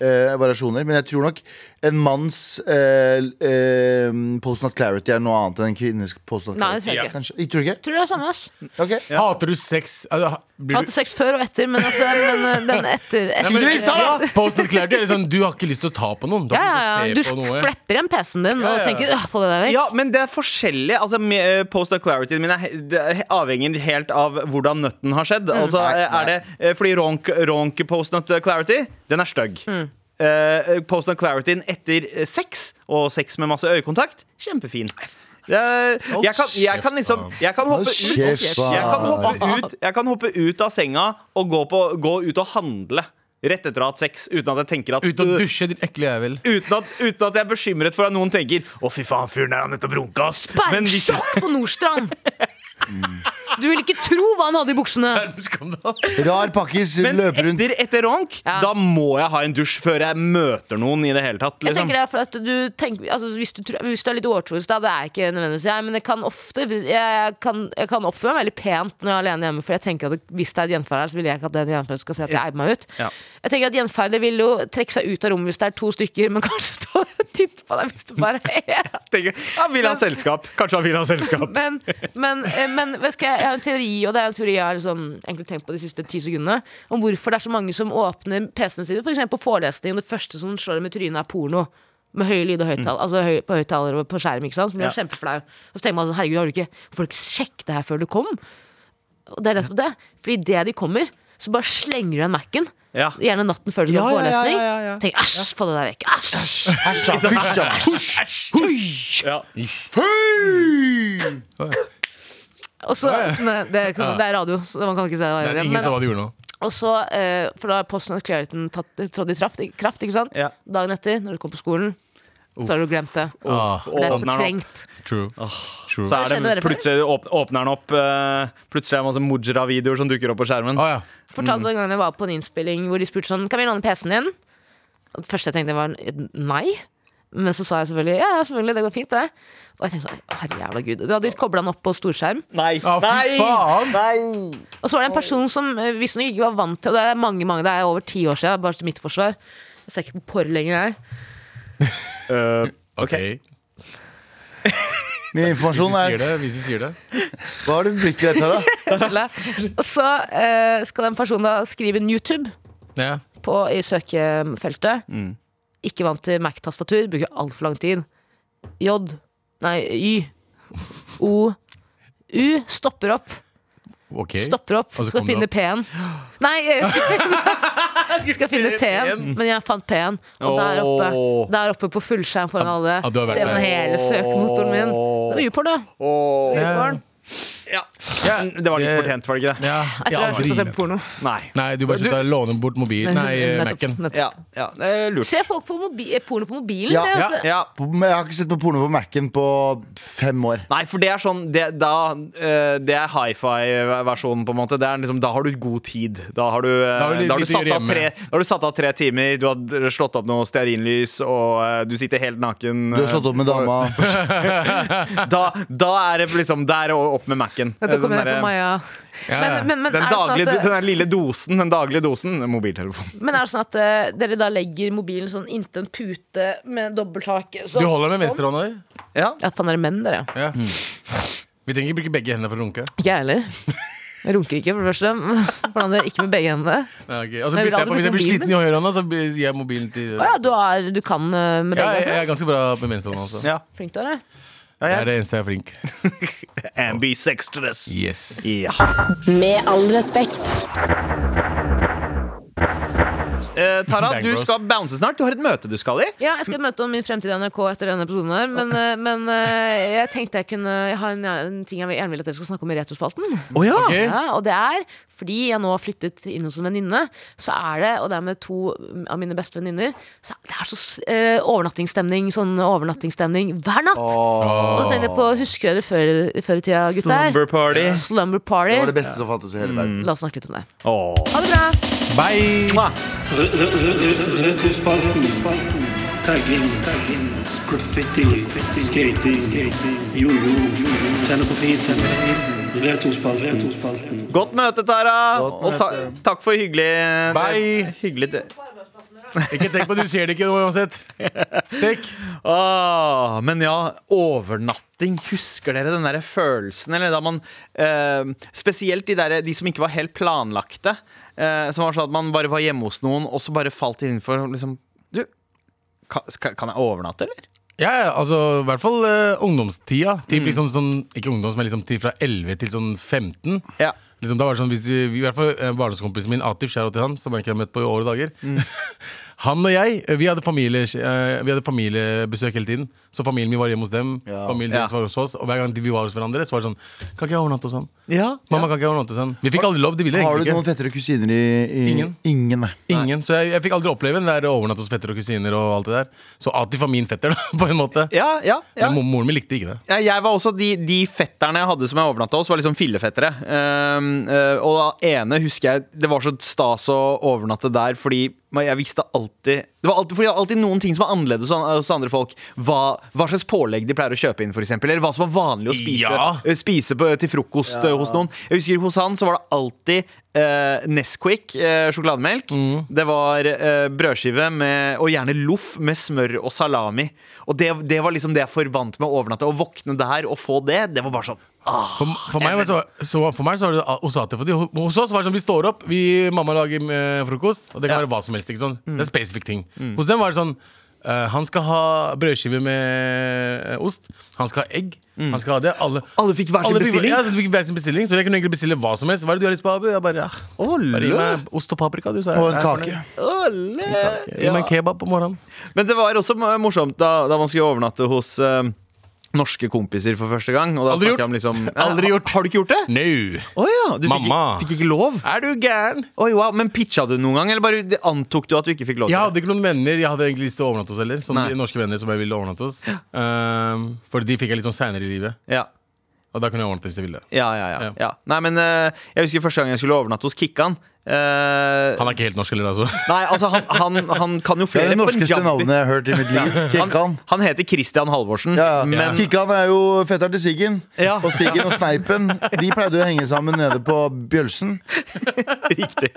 Speaker 6: eh, variasjoner. Men jeg tror nok en manns eh, eh, pose not clarity er noe annet enn en kvinnes pose not
Speaker 4: Nei, det
Speaker 6: clarity.
Speaker 4: tror jeg ikke.
Speaker 6: Kanskje. Tror du ikke?
Speaker 4: Tror det er samme, ass.
Speaker 6: Ok.
Speaker 2: Hater du sex? Altså, ha-
Speaker 4: Jeg
Speaker 2: blir
Speaker 4: hadde
Speaker 2: du...
Speaker 4: sex før og etter, men, altså, men eh, den etter, etter
Speaker 2: men-
Speaker 6: Tydeligvis, da, da!
Speaker 2: Post not clarity er liksom, du har ikke lyst til å ta på noen. Du
Speaker 4: Ja,
Speaker 2: har
Speaker 4: ja, ja.
Speaker 2: ikke
Speaker 4: Du
Speaker 2: lyst til å se på noe.
Speaker 4: flapper igjen PC-en din
Speaker 2: Ja,
Speaker 4: og
Speaker 2: ja.
Speaker 4: tenker «Åh, få det der vekk.
Speaker 3: Ja, men det er forskjellig. Altså, me- eh, Post of clarity min er, he- det er- avhenger helt av hvordan nøtten har skjedd. Altså,
Speaker 6: Nei,
Speaker 3: eh, er
Speaker 6: nei.
Speaker 3: det, eh, fordi ronk, ronk post not clarity, den er stygg. Eh, post not clarity etter eh, sex, og sex med masse øyekontakt, kjempefin. Det er- Jeg kan, jeg kan liksom Jeg kan hoppe ut
Speaker 6: kjeft,
Speaker 3: jeg kan,
Speaker 6: faen.
Speaker 3: hoppe ut, jeg kan hoppe ut av senga og gå, på, gå ut og handle. rett etter å ha hatt sex. Uten at jeg tenker at
Speaker 2: Ut og dusje, din ekle jævel.
Speaker 3: Uten at, uten at jeg er bekymret for at noen tenker 'Å, fy faen, fyren der har nettopp runka', ass. Men hvis-
Speaker 4: Bergsjakk på Nordstrand! Du vil ikke tro hva han hadde i buksene!
Speaker 6: Rar pakkis
Speaker 3: men
Speaker 6: løper rundt.
Speaker 3: etter, etter ronk,
Speaker 4: Ja.
Speaker 3: da må jeg ha en dusj før jeg møter noen i det hele tatt.
Speaker 4: Jeg
Speaker 3: Liksom.
Speaker 4: tenker det er for at du tenker, altså, hvis, du, tror- hvis du er litt årtroisk, da, det er ikke nødvendigvis jeg, men jeg kan ofte jeg kan, jeg kan oppføre meg veldig pent når jeg er alene hjemme, for jeg tenker at hvis det er et gjenferd her, så vil jeg ikke at den gjenferden skal se at jeg eier meg ut.
Speaker 3: Ja.
Speaker 4: Jeg tenker at gjenferdet vil jo trekke seg ut av rommet hvis det er to stykker, men kanskje stå og titte på deg hvis det bare er én.
Speaker 3: Tenker, han vil ha selskap. Kanskje han vil ha selskap.
Speaker 4: Men, men, eh, men vet du hva, jeg har en teori, og det er en teori jeg har liksom egentlig tenkt på de siste ti sekundene, om hvorfor det er så mange som åpner PC-ene sine, f.eks. på forelesning, og det første som slår dem i trynet, er porno. Med høy lyd og høyttaler, altså høy, på høyttaler og på skjerm. ikke sant? Som blir
Speaker 3: Mm. Ja.
Speaker 4: man kjempeflau. Og så tenker man sånn, herregud, har du ikke, hvorfor har du ikke sjekket det her før du kom? Og det er nettopp det. Fordi idet de kommer, så bare slenger du igjen Mac-en.
Speaker 3: Ja.
Speaker 4: Gjerne natten før du skal
Speaker 3: Ja, ja,
Speaker 4: på
Speaker 3: ja,
Speaker 4: forelesning.
Speaker 3: ja, ja.
Speaker 4: Tenk, æsj, få det der vekk. Æsj.
Speaker 6: Æsj, ja, hysj, ja.
Speaker 3: Ja.
Speaker 4: Og så, nei, det, er- det er radio, så man kan ikke se hva jeg
Speaker 2: Det
Speaker 4: gjør.
Speaker 2: er ingen
Speaker 4: men-
Speaker 2: som hva du gjorde nå.
Speaker 4: Og så, eh, for da er posten og klarheten tatt, trådt i kraft, kraft, ikke sant?
Speaker 3: Ja.
Speaker 4: Dagen etter, når du kom på skolen, så har du glemt det.
Speaker 2: Ah,
Speaker 4: For det er
Speaker 3: åpner den
Speaker 4: fortrengt.
Speaker 2: true. true.
Speaker 3: Så er
Speaker 4: Skjønner
Speaker 3: det
Speaker 4: dere for
Speaker 3: plutselig åp- åpner han opp eh, Plutselig er det masse Mujra-videoer som dukker opp på skjermen.
Speaker 2: Ah, ja.
Speaker 3: Mm.
Speaker 4: Fortalte meg en gang jeg var på en innspilling hvor de spurte sånn Kan vi låne PC-en din? Og det første jeg tenkte var nei. Men så sa jeg selvfølgelig ja, ja, selvfølgelig, det går fint, det. Og jeg tenkte sånn, herre jævla gud. Du hadde kobla den opp på storskjerm.
Speaker 3: Nei!
Speaker 2: Ah, fy faen!
Speaker 4: Og så var det en person som eh, visstnok ikke var vant til Og det er mange, mange, det er over ti år siden, bare til mitt forsvar. Jeg ser ikke på porr lenger, jeg.
Speaker 3: Eh,
Speaker 2: Ok,
Speaker 6: Mye
Speaker 2: hvis
Speaker 6: informasjon
Speaker 2: du
Speaker 6: er
Speaker 2: sier det. Hvis du sier det.
Speaker 6: Hva er det blikket ditt her, da?
Speaker 4: Eller? Og så eh, skal den personen da skrive en YouTube
Speaker 2: Ja.
Speaker 4: på, i søkefeltet.
Speaker 2: Mm.
Speaker 4: Ikke vant til Mac-tastatur, bruker altfor lang tid. J, nei Y, O, U. Stopper opp.
Speaker 2: Ok.
Speaker 4: Stopper opp.
Speaker 2: Og så
Speaker 4: Skal
Speaker 2: kom det
Speaker 4: finne
Speaker 2: opp.
Speaker 4: P-en. Nei, jeg skal finne, skal finne T-en, men jeg fant P-en. Og der oppe,
Speaker 3: Åh.
Speaker 4: der oppe på fullskjerm foran alle.
Speaker 2: ja, du har vært
Speaker 4: Ser man
Speaker 2: der.
Speaker 4: hele søkemotoren min. Det var YouPorn, da.
Speaker 3: og-
Speaker 4: YouPorn.
Speaker 3: ja. Det var litt fortjent, var det ikke det?
Speaker 2: Ja.
Speaker 4: Jeg tror jeg har sluttet å se på porno.
Speaker 3: Nei.
Speaker 2: Nei, du bare slutta å låne bort mobil Nei, eh,
Speaker 4: Nettopp, Sånn,
Speaker 2: Mac-en.
Speaker 4: nettopp.
Speaker 3: Ja, ja, det er lurt.
Speaker 4: Ser folk på mobi eh, porno på mobilen?
Speaker 6: Ja.
Speaker 4: Det er
Speaker 2: Ja,
Speaker 4: også-
Speaker 3: Ja.
Speaker 6: På- men Jeg har ikke sett på porno på Mac-en på fem år.
Speaker 3: Nei, for det er sånn Det, da, eh, det er hi-fi-versjonen, på en måte. Det er liksom, da har du god tid. Da har du, eh,
Speaker 2: Da har du litt
Speaker 3: da har du
Speaker 2: lite å
Speaker 3: satt
Speaker 2: gjøre
Speaker 3: av
Speaker 2: hjemme.
Speaker 3: tre, da har du satt av tre timer, du har slått opp noe stearinlys, og eh, du sitter helt naken. eh,
Speaker 6: Du har slått opp med dama.
Speaker 3: da, da er det liksom Der og opp med Mac-en.
Speaker 4: Dette kommer
Speaker 3: Den
Speaker 4: jeg
Speaker 3: derre-
Speaker 4: fra Maja.
Speaker 2: sånn Ja,
Speaker 4: Men,
Speaker 2: ja.
Speaker 4: men, men,
Speaker 3: den,
Speaker 4: er det sånn
Speaker 3: daglige,
Speaker 4: at,
Speaker 3: den der lille dosen, den daglige dosen Mobiltelefon.
Speaker 4: men er det sånn at eh, dere da legger mobilen sånn inntil en pute med dobbelthake?
Speaker 2: Du
Speaker 4: Sånn?
Speaker 2: holder med venstrehånda di.
Speaker 3: Ja.
Speaker 4: Ja, faen, dere er menn, dere.
Speaker 2: Ja.
Speaker 6: Mm.
Speaker 2: Vi trenger ikke bruke begge hendene for å runke.
Speaker 4: Ikke jeg heller. Jeg runker ikke, for det første. For det andre, ikke med begge hendene.
Speaker 2: Ja, ok. Og så
Speaker 4: Men vil
Speaker 2: bytter jeg på
Speaker 4: alle
Speaker 2: Hvis jeg
Speaker 4: bruke
Speaker 2: blir sliten
Speaker 4: mobilen?
Speaker 2: i høyrehånda, så blir- gir jeg mobilen til
Speaker 4: Å ja, du, er, du kan eh, med
Speaker 2: Ja, jeg, jeg
Speaker 4: begge? Altså.
Speaker 2: er ganske bra med venstrehånda også.
Speaker 3: ja.
Speaker 4: Flink du er, da.
Speaker 2: Det er det eneste jeg er flink.
Speaker 3: And be sexless.
Speaker 2: Yes.
Speaker 3: Ja.
Speaker 7: Med all respekt.
Speaker 3: Eh, Tara,
Speaker 2: Bang
Speaker 3: du
Speaker 2: Bros.
Speaker 3: skal bounce snart. Du har et møte du skal i.
Speaker 4: Ja, jeg skal møte om min fremtid i NRK etter denne episoden her, men, eh, men eh, jeg tenkte jeg kunne Jeg har en, en ting jeg gjerne vil at dere skal snakke om i Retrospalten.
Speaker 3: Oh, ja.
Speaker 2: Ok.
Speaker 4: Ja, og det er fordi jeg nå har flyttet inn hos en venninne, så er det, og det er med to av mine beste venninner, så det er så s- eh, overnattingsstemning, sånn overnattingsstemning hver natt. Og så tenkte jeg på, husker dere før, før i tida, gutter?
Speaker 3: Slumber party.
Speaker 4: Slumber
Speaker 6: Det var
Speaker 4: party.
Speaker 6: det beste som fantes i hele verden.
Speaker 4: La oss snakke litt om det.
Speaker 3: Åh.
Speaker 4: Ha det bra!
Speaker 2: Bye!
Speaker 3: Mwah.
Speaker 8: Retrospalten. Tagging. Graffiti. Skating. Jojo. Tenne på fisen. Retrospalten.
Speaker 3: Godt møte, Tara.
Speaker 6: Godt
Speaker 3: Og ta takk for hyggelig
Speaker 2: Bye.
Speaker 3: Hyggelig det-
Speaker 2: Ikke tenk på det, du ser det ikke uansett. Stikk.
Speaker 3: Åh, Ah, men ja, overnatting. Husker dere den der følelsen? Eller da man eh, Spesielt de, der, de som ikke var helt planlagte. Eh, som var sånn at man bare var hjemme hos noen, og så bare falt innenfor liksom Du, kan, skal, kan jeg overnatte, eller?
Speaker 2: Ja, ja, altså i hvert fall eh, ungdomstida. Typ liksom sånn, ikke ungdoms, men liksom til fra 11 til sånn 15.
Speaker 3: Ja.
Speaker 6: Mm.
Speaker 2: Liksom, da var det sånn, hvis vi, I hvert fall eh, barndomskompisen min Atif, kjære til han, som jeg ikke har møtt på i åre og dager. Han og jeg, eh, vi hadde, familie, eh, vi hadde familiebesøk hele tiden. Så familien min var hjemme hos dem.
Speaker 6: Ja.
Speaker 2: Familien
Speaker 3: Ja.
Speaker 2: deres var hos oss Og hver gang de- vi var hos hverandre, så var det sånn Kan ikke jeg overnatte hos han?
Speaker 3: Ja,
Speaker 2: Mamma, kan ikke jeg overnatte hos han? Vi fikk aldri lov. De ville
Speaker 6: Har
Speaker 2: egentlig
Speaker 6: du
Speaker 2: ikke.
Speaker 6: noen fettere og kusiner i, i
Speaker 2: Ingen.
Speaker 6: Ingen, nei.
Speaker 2: Ingen, så jeg, jeg fikk aldri oppleve den der overnatt hos fetter og kusiner og alt det der. Så Atif var min fetter, da, på en måte.
Speaker 3: ja, ja, ja.
Speaker 2: Men mo- moren min likte ikke det.
Speaker 3: Ja, Jeg var også, De, de fetterne jeg hadde som jeg overnatta hos, var liksom fillefettere. Ehm, eh, og da ene husker jeg Det var så stas å overnatte der, fordi man- jeg visste alltid Det var alltid, fordi det var alltid noen ting som var annerledes hos an- hos andre folk. Hva, hva slags pålegg de pleier å kjøpe inn, for eksempel, Eller hva som var vanlig å spise,
Speaker 2: Ja.
Speaker 3: eh, spise på, til frokost eh, hos noen. Jeg husker Hos han så var det alltid eh, Nesquik eh, sjokolademelk.
Speaker 2: Mm.
Speaker 3: Det var eh, brødskive med, og gjerne loff med smør og salami. Og det, det var liksom det jeg forbandt med å overnatte. Å våkne der og få det, det var bare sånn ah.
Speaker 2: For, for, meg, var så, så, for meg så var det a- hos Atif. og de- Hos oss var det sånn vi står opp, vi, mamma lager eh, frokost, og det kan
Speaker 3: Ja. Mm.
Speaker 2: være hva som helst. ikke sånn? Det er spesifikke ting. Hos dem var det sånn eh, Han skal ha brødskive med eh, ost. Han skal ha egg. Han skal ha det. Alle,
Speaker 3: Mm. Alle fikk hver sin
Speaker 2: alle fikk-
Speaker 3: bestilling?
Speaker 2: Ja, så du fikk hver sin bestilling, så jeg kunne egentlig bestille hva som helst. Hva er det du har lyst på, Abu? Jeg bare, ja.
Speaker 3: Å,
Speaker 2: bare gi
Speaker 3: lø.
Speaker 2: meg ost og paprika, du, sa jeg.
Speaker 6: Og en
Speaker 2: Jeg er fornøyd.
Speaker 6: kake.
Speaker 3: Alle.
Speaker 2: Gi meg en kebab på morgenen.
Speaker 3: Men det var også eh, morsomt da, da man skulle overnatte hos eh, norske kompiser for første gang. Og da
Speaker 2: Aldri
Speaker 3: snakket jeg
Speaker 2: gjort.
Speaker 3: om Liksom,
Speaker 2: Aldri gjort.
Speaker 3: Har du ikke gjort det?
Speaker 2: No.
Speaker 3: Å ja, du fikk,
Speaker 2: Mamma.
Speaker 3: fikk ikke lov?
Speaker 2: Er du gæren?
Speaker 3: Oi, wow, Men pitcha du noen gang, eller bare antok du at du ikke fikk lov
Speaker 2: Jeg
Speaker 3: til det?
Speaker 2: hadde ikke noen venner jeg hadde egentlig lyst til å overnatte hos heller. Som
Speaker 3: Nei.
Speaker 2: de norske venner som jeg ville overnatte hos. Ehm, for de fikk jeg litt sånn seinere i livet.
Speaker 3: Ja.
Speaker 2: Og da kunne jeg overnatte hvis jeg ville.
Speaker 3: Ja, ja, ja,
Speaker 2: Ja.
Speaker 3: ja. Nei, men eh, jeg husker første gang jeg skulle overnatte hos Kikkan. eh,
Speaker 2: Han er ikke helt norsk heller, altså.
Speaker 3: Nei, altså, han, han, han kan jo
Speaker 6: Det er
Speaker 3: flere
Speaker 6: det norskeste
Speaker 3: punjabi-
Speaker 6: navnet jeg har hørt i mitt liv. Kikkan.
Speaker 3: Han, han heter Christian Halvorsen.
Speaker 6: Ja, ja.
Speaker 3: Men
Speaker 6: Kikkan er jo fetteren til Siggen.
Speaker 3: Ja.
Speaker 6: Og Siggen og Sneipen De pleide å henge sammen nede på Bjølsen.
Speaker 3: riktig.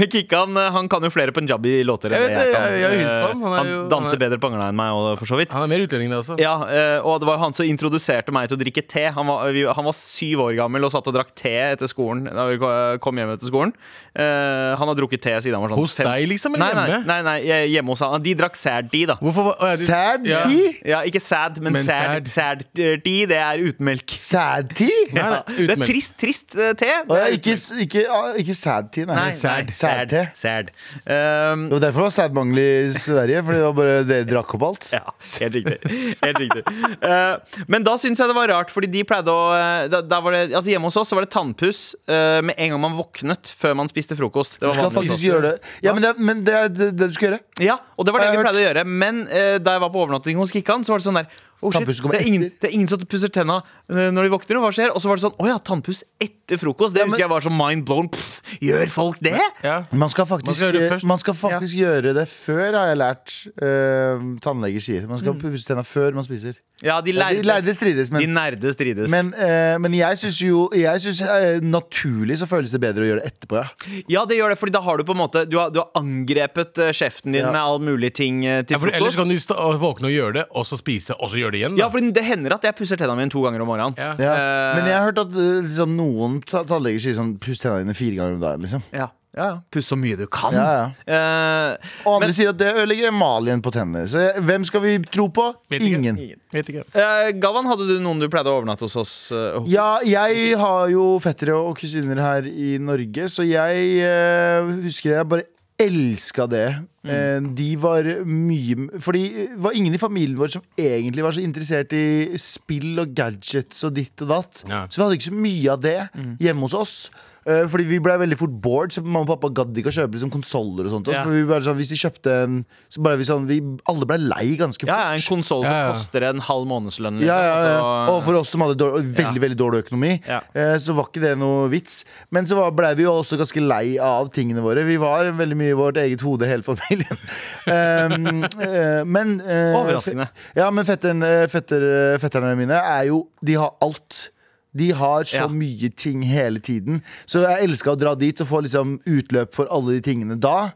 Speaker 3: Men Kikkan eh, han kan jo flere punjabi-låter enn
Speaker 2: Jeg vet
Speaker 3: det jeg
Speaker 2: det,
Speaker 3: kan.
Speaker 2: jeg- jeg har hilst på
Speaker 3: Eh,
Speaker 2: ham. Han er
Speaker 3: Han
Speaker 2: jo- han
Speaker 3: danser
Speaker 2: er-
Speaker 3: bedre på angla enn meg, og for så vidt.
Speaker 2: Han er mer utlending, altså. det også.
Speaker 3: Ja, eh, og det var han som introduserte meg til å drikke te. Han var, vi, han var syv år gammel og satt og drakk te etter skolen. Da vi ko- kom hjem etter skolen Eh, Han har drukket te siden han var sånn
Speaker 2: Hos deg, liksom, eller
Speaker 3: Nei, nei,
Speaker 2: hjemme?
Speaker 3: nei, nei, jeg- hjemme hos han. De drakk sad de, da.
Speaker 2: Hvorfor var- å, ja, du-
Speaker 6: Sad
Speaker 2: Ja.
Speaker 6: tea?
Speaker 3: Ja, ikke sad, men,
Speaker 2: Men
Speaker 3: sad, sad de, det er uten melk.
Speaker 6: Sad tea?
Speaker 2: Nei, nei,
Speaker 3: det er
Speaker 2: uten melk.
Speaker 3: trist, trist eh, te. Det
Speaker 6: Å ja,
Speaker 3: er
Speaker 6: ikke, ikke, ah, ikke sad tea, nei.
Speaker 3: Nei,
Speaker 6: Sad.
Speaker 3: nei,
Speaker 6: Sad te.
Speaker 3: Sad. Um,
Speaker 6: Det var derfor det var sædmangel i Sverige, fordi det var bare det drakk opp alt.
Speaker 3: ja, helt riktig. Helt riktig. Eh, men da syns jeg det var rart, fordi de pleide å eh, da, da var det, altså Hjemme hos oss så var det tannpuss eh, med en gang man våknet, før man spiste frokost. Det
Speaker 6: Du
Speaker 3: var
Speaker 6: skal
Speaker 3: vanlig hos
Speaker 6: faktisk
Speaker 3: oss.
Speaker 6: gjøre det. Ja, men det, er- men det er det det du skal gjøre.
Speaker 3: Ja, og det var det
Speaker 6: Jeg
Speaker 3: vi
Speaker 6: har
Speaker 3: pleide å gjøre. Men eh, da jeg var på overnatting hos Kikkan, så var det sånn der «Å, shit,
Speaker 6: Tannpussen kommer
Speaker 3: det er, ingen,
Speaker 6: etter.
Speaker 3: det er ingen som pusser tenna eh, når de våkner. og Hva skjer? Og så var det sånn Å ja, tannpuss etter frokost. Det
Speaker 6: men-
Speaker 3: husker jeg var så mind blown. Pff, gjør folk det?
Speaker 2: Ja.
Speaker 6: Man skal
Speaker 2: Man
Speaker 6: faktisk,
Speaker 2: skal
Speaker 6: man
Speaker 2: gjøre det
Speaker 6: skal
Speaker 2: først.
Speaker 6: faktisk gjøre det før, har jeg lært. eh, tannleger sier. Man skal pusse tenna før man spiser.
Speaker 3: Ja, de
Speaker 6: Ja, de
Speaker 3: lærde,
Speaker 6: lærde strides,
Speaker 3: de
Speaker 6: men,
Speaker 3: nerde strides.
Speaker 6: men, eh, men jeg syns jo jeg synes, eh, Naturlig så føles det bedre å gjøre det etterpå, ja.
Speaker 3: Ja, det gjør det, fordi da har du på en måte Du har, du har angrepet eh, kjeften din
Speaker 6: Ja.
Speaker 3: med all mulig ting eh, til
Speaker 2: Ja, for ellers
Speaker 3: frokost.
Speaker 2: kan du stå, og våkne og gjøre det, og så spise, og så gjøre det igjen. Da.
Speaker 3: Ja, for det hender at jeg pusser tennene mine to ganger om morgenen.
Speaker 2: Ja.
Speaker 6: ja.
Speaker 3: Eh.
Speaker 6: Men jeg har hørt at eh, liksom, noen ta- tannleger sier sånn puss tenna dine fire ganger om dagen, liksom.
Speaker 3: Ja, ja, ja. Puss så mye du kan.
Speaker 6: Ja, ja.
Speaker 3: Eh,
Speaker 6: Og andre sier at det ødelegger emaljen på tennene. Så jeg- hvem skal vi tro på?
Speaker 2: Vet ikke.
Speaker 6: Ingen.
Speaker 2: Vet ikke.
Speaker 3: eh, Galvan, hadde du noen du pleide å overnatte hos oss? eh, hos-
Speaker 6: Ja, jeg har jo fettere og kusiner her i Norge, så jeg eh, husker jeg bare elska det.
Speaker 3: Mm.
Speaker 6: Eh, de var mye Fordi det var ingen i familien vår som egentlig var så interessert i spill og gadgets og ditt og datt.
Speaker 2: Ja.
Speaker 6: Så vi hadde ikke så mye av det
Speaker 3: Mm.
Speaker 6: hjemme hos oss. Eh, Fordi vi ble veldig fort bored, så mamma og pappa gadd ikke å kjøpe liksom konsoller. og sånt også,
Speaker 3: Ja.
Speaker 6: For vi ble sånn, Hvis de kjøpte en så ble vi sånn, vi Alle ble lei ganske fort.
Speaker 3: ja, ja, en konsoll som
Speaker 2: Ja, ja.
Speaker 3: koster en halv månedslønn.
Speaker 6: Ja, ja, ja.
Speaker 3: altså-
Speaker 6: Og for oss som hadde dårlig, veldig veldig dårlig økonomi,
Speaker 3: Ja.
Speaker 6: eh, så var ikke det noe vits. Men så var- ble vi jo også ganske lei av tingene våre. Vi var veldig mye i vårt eget hode, hele familien. um, eh, men eh,
Speaker 3: Overraskende.
Speaker 6: fe- Ja, men fetteren, eh, fetter, fetterne mine er jo De har alt. De har så
Speaker 3: Ja.
Speaker 6: mye ting hele tiden. Så jeg elska å dra dit og få liksom utløp for alle de tingene da.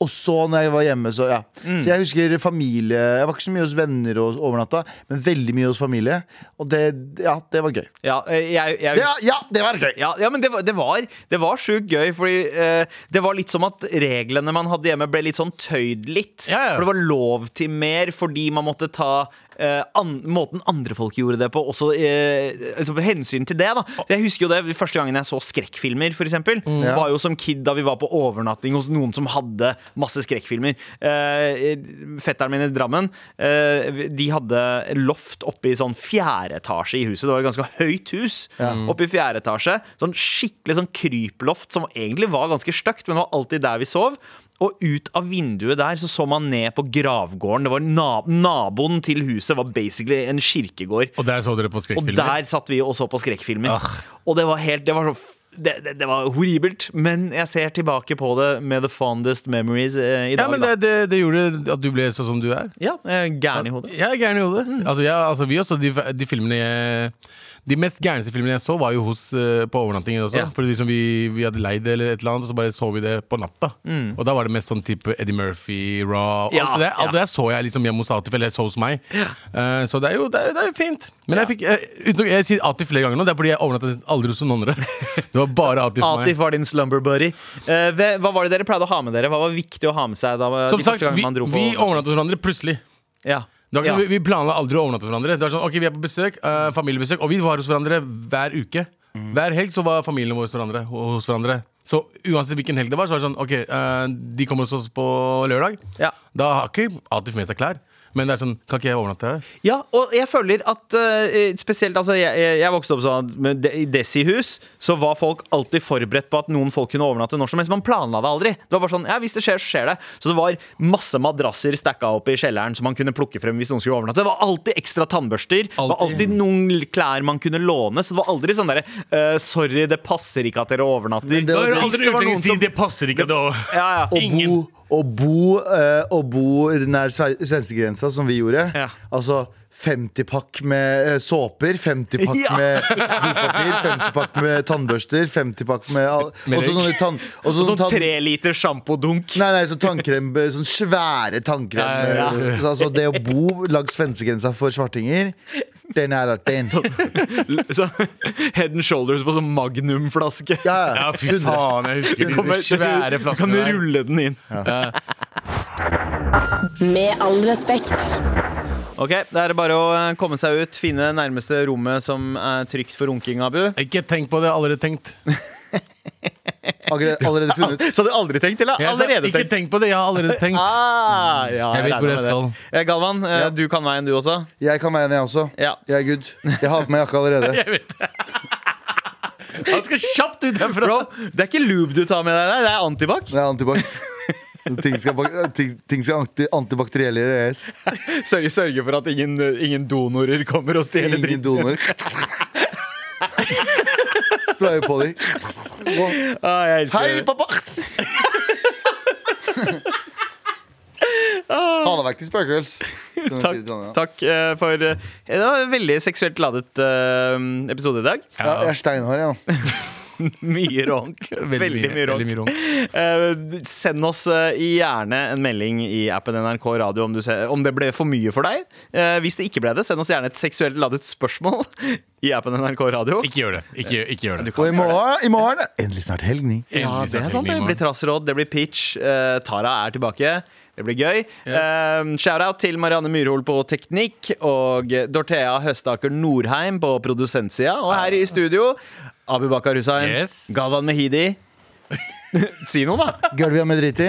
Speaker 6: Og så når jeg var hjemme, så ja. Så jeg husker familie Jeg var ikke så mye hos venner og overnatta, men veldig mye hos familie. Og det, ja, det var gøy.
Speaker 3: Ja, eh, jeg, jeg,
Speaker 6: Det, ja, det var gøy!
Speaker 3: Ja, ja men det var, det var, det var sjukt gøy, fordi eh, det var litt som at reglene man hadde hjemme, ble litt sånn tøyd litt.
Speaker 2: Ja, ja.
Speaker 3: For det var lov til mer fordi man måtte ta eh, an måten andre folk gjorde det på, også eh, altså, med hensyn til det. da Så Jeg husker jo det første gangen jeg så skrekkfilmer, f.eks. eksempel
Speaker 2: Mm.
Speaker 6: Ja.
Speaker 3: Var jo som kid da vi var på overnatting hos noen som hadde masse skrekkfilmer. Eh, fetteren min i Drammen eh, De hadde loft oppe i sånn fjerde etasje i huset. Det var et ganske høyt hus. Oppe i fjerde etasje Sånn Skikkelig sånn kryploft som egentlig var ganske stygt, men det var alltid der vi sov. Og ut av vinduet der så så man ned på gravgården. Det var na Naboen til huset var basically en kirkegård.
Speaker 2: Og der så dere på
Speaker 3: Og
Speaker 2: skrekkfilmer?
Speaker 3: der satt vi og så på skrekkfilmer. Og det var helt Det var så f- det, det, det var horribelt, men jeg ser tilbake på det med the fondest memories eh, i
Speaker 2: Ja,
Speaker 3: dag.
Speaker 2: men
Speaker 3: da.
Speaker 2: det, det, det gjorde at du ble sånn som du er.
Speaker 3: ja, jeg er gæren i hodet.
Speaker 2: Jeg er gæren i hodet.
Speaker 3: Mm.
Speaker 2: Altså, jeg, altså, vi også, de, de filmene jeg, De mest gærneste filmene jeg så, var jo hos, eh, på overnattingen også.
Speaker 3: Ja.
Speaker 2: Fordi liksom vi, vi hadde leid det eller et eller annet, og så bare så vi det på natta. Og da var det mest sånn type Eddie Murphy, Raw og
Speaker 3: Mm. Ja,
Speaker 2: Alt det der alt
Speaker 3: ja.
Speaker 2: det der så jeg liksom hjemme hos Atif, eller jeg så hos meg. Eh, så det er jo, det er, det er jo fint. Men jeg fikk eh, uten, Jeg sier Atif flere ganger nå, det er fordi jeg overnattet aldri hos noen andre. Det var bare Atif for meg.
Speaker 3: Atif var din slumber buddy. Eh, ve- hva var det dere pleide å ha med dere? Hva var viktig å ha med seg? Da,
Speaker 2: Som
Speaker 3: de
Speaker 2: sagt,
Speaker 3: første gangene
Speaker 2: vi,
Speaker 3: man dro på
Speaker 2: vi overnattet hos hverandre plutselig.
Speaker 3: Ja.
Speaker 2: Det var ikke
Speaker 3: Ja.
Speaker 2: sånn, vi, vi planla aldri å overnatte hos hverandre. Det var sånn, ok, Vi er på besøk, eh, familiebesøk, og vi var hos hverandre hver uke.
Speaker 3: Mm.
Speaker 2: Hver helg så var familien vår hos hverandre. og Hos hverandre. Så uansett hvilken helg det var, så var det sånn Ok, eh, de kommer hos oss på lørdag.
Speaker 3: Ja.
Speaker 2: Da har ikke Atif med seg klær. Men det er sånn, kan ikke jeg overnatte her?
Speaker 3: Ja, og jeg føler at eh, spesielt altså, jeg, jeg, jeg vokste opp sånn at med de- i Desi-hus så var folk alltid forberedt på at noen folk kunne overnatte når som helst. Man planla det aldri. Det var bare sånn, ja, hvis det skjer, så skjer det. Så det var masse madrasser stacka opp i kjelleren som man kunne plukke frem hvis noen skulle overnatte. Det var alltid ekstra tannbørster. Det var
Speaker 2: Alltid.
Speaker 3: alltid noen l- klær man kunne låne. Så det var aldri sånn derre eh, Sorry, det passer ikke at dere overnatter.
Speaker 6: Men det var-
Speaker 3: Hvis
Speaker 6: aldri
Speaker 3: det var noen som-
Speaker 2: passer ikke, da.
Speaker 3: ja, ja.
Speaker 6: Å bo, å bo, eh, å bo nær sve- svenskegrensa, som vi gjorde.
Speaker 3: Ja.
Speaker 6: Altså 50 pakk med eh, såper, 50 pakk
Speaker 3: Ja.
Speaker 6: med dopapir, 50 pakk med tannbørster, 50 pakk med all,
Speaker 2: Med
Speaker 6: også
Speaker 2: røyk.
Speaker 6: sånne tann, også
Speaker 3: Sånn
Speaker 6: sånne tann-
Speaker 3: tre liter sjampodunk.
Speaker 6: Nei, nei, sånn tannkrem, sånn svære tannkrem.
Speaker 2: Ja,
Speaker 3: ja,
Speaker 6: Så, altså, det å bo langs svenskegrensa for svartinger, den er rart, den.
Speaker 3: Sånn. Så, head and shoulders på sånn magnumflaske.
Speaker 6: Ja,
Speaker 2: Ja,
Speaker 6: ja.
Speaker 2: fy faen, jeg husker de svære
Speaker 3: Kan
Speaker 2: flaskene
Speaker 3: du
Speaker 2: der.
Speaker 3: rulle den inn?
Speaker 7: Med all respekt.
Speaker 3: Ok, Da er det bare å eh, komme seg ut, finne nærmeste rommet som er trygt for runking, Abu.
Speaker 2: Ikke tenk på det, allerede tenkt.
Speaker 6: Allerede, allerede funnet.
Speaker 3: Så hadde du aldri tenkt, eller?
Speaker 2: Jeg sa,
Speaker 3: Allerede
Speaker 2: ikke
Speaker 3: tenkt.
Speaker 2: tenk på det, jeg har allerede tenkt.
Speaker 3: Ah, ja,
Speaker 2: Jeg vet
Speaker 3: regner
Speaker 2: hvor jeg
Speaker 3: med det. Eh, Galvan, eh,
Speaker 6: Ja.
Speaker 3: du kan veien, du også.
Speaker 6: Jeg kan veien, jeg også.
Speaker 3: Ja.
Speaker 6: Jeg er good. Jeg har på meg jakka allerede.
Speaker 2: Han skal kjapt ut herfra!
Speaker 3: Bro, det er ikke lube du tar med deg, der, det er antibac.
Speaker 6: Det er antibac. Ting skal, bak- ting, ting skal anti, antibakterielle gjøres.
Speaker 3: Sørge, sørge for at ingen, ingen donorer kommer og stjeler dritten.
Speaker 6: Ingen donorer. Spraye på dem.
Speaker 3: Ah, jeg elsker
Speaker 6: Hei,
Speaker 3: det.
Speaker 6: pappa! Ha det vekk til spøkels. som vi sier sånn, i
Speaker 3: Takk,
Speaker 6: Trondheim.
Speaker 3: takk eh, for eh, Det var en veldig seksuelt ladet eh, episode i dag.
Speaker 6: Ja, jeg er steinhard, jeg. nå.
Speaker 3: Mye rånk. Veldig, mye rånk.
Speaker 2: Veldig mye rånk.
Speaker 3: Eh, send oss eh, gjerne en melding i appen NRK Radio om, du ser, om det ble for mye for deg. Eh, hvis det ikke ble det, send oss gjerne et seksuelt ladet spørsmål i appen NRK Radio.
Speaker 2: Ikke gjør det. Ikke, ikke gjør det.
Speaker 6: Og i morgen, i morgen Endelig snart helg, ni.
Speaker 3: Ja,
Speaker 2: Endelig
Speaker 3: det er
Speaker 2: snart
Speaker 3: sant.
Speaker 2: helg,
Speaker 3: Det
Speaker 2: Nima.
Speaker 3: blir trassråd, det blir pitch. Eh, Tara er tilbake. Det blir gøy. Eh, Shout-out til Marianne Myrhol på teknikk og Dorthea Høstaker Norheim på produsentsida. Og her i studio, Abu Bakar Hussein,
Speaker 2: Yes.
Speaker 3: Galvan Mehidi Si noe, da!
Speaker 6: Gulvet er med dritt i.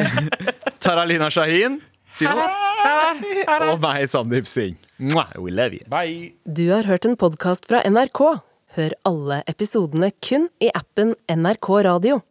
Speaker 3: Taralina Shahin. Si noe. Og meg, Sandeep Singh. Mwah, We love you.
Speaker 2: Bye.
Speaker 9: Du har hørt en podkast fra NRK. Hør alle episodene kun i appen NRK Radio.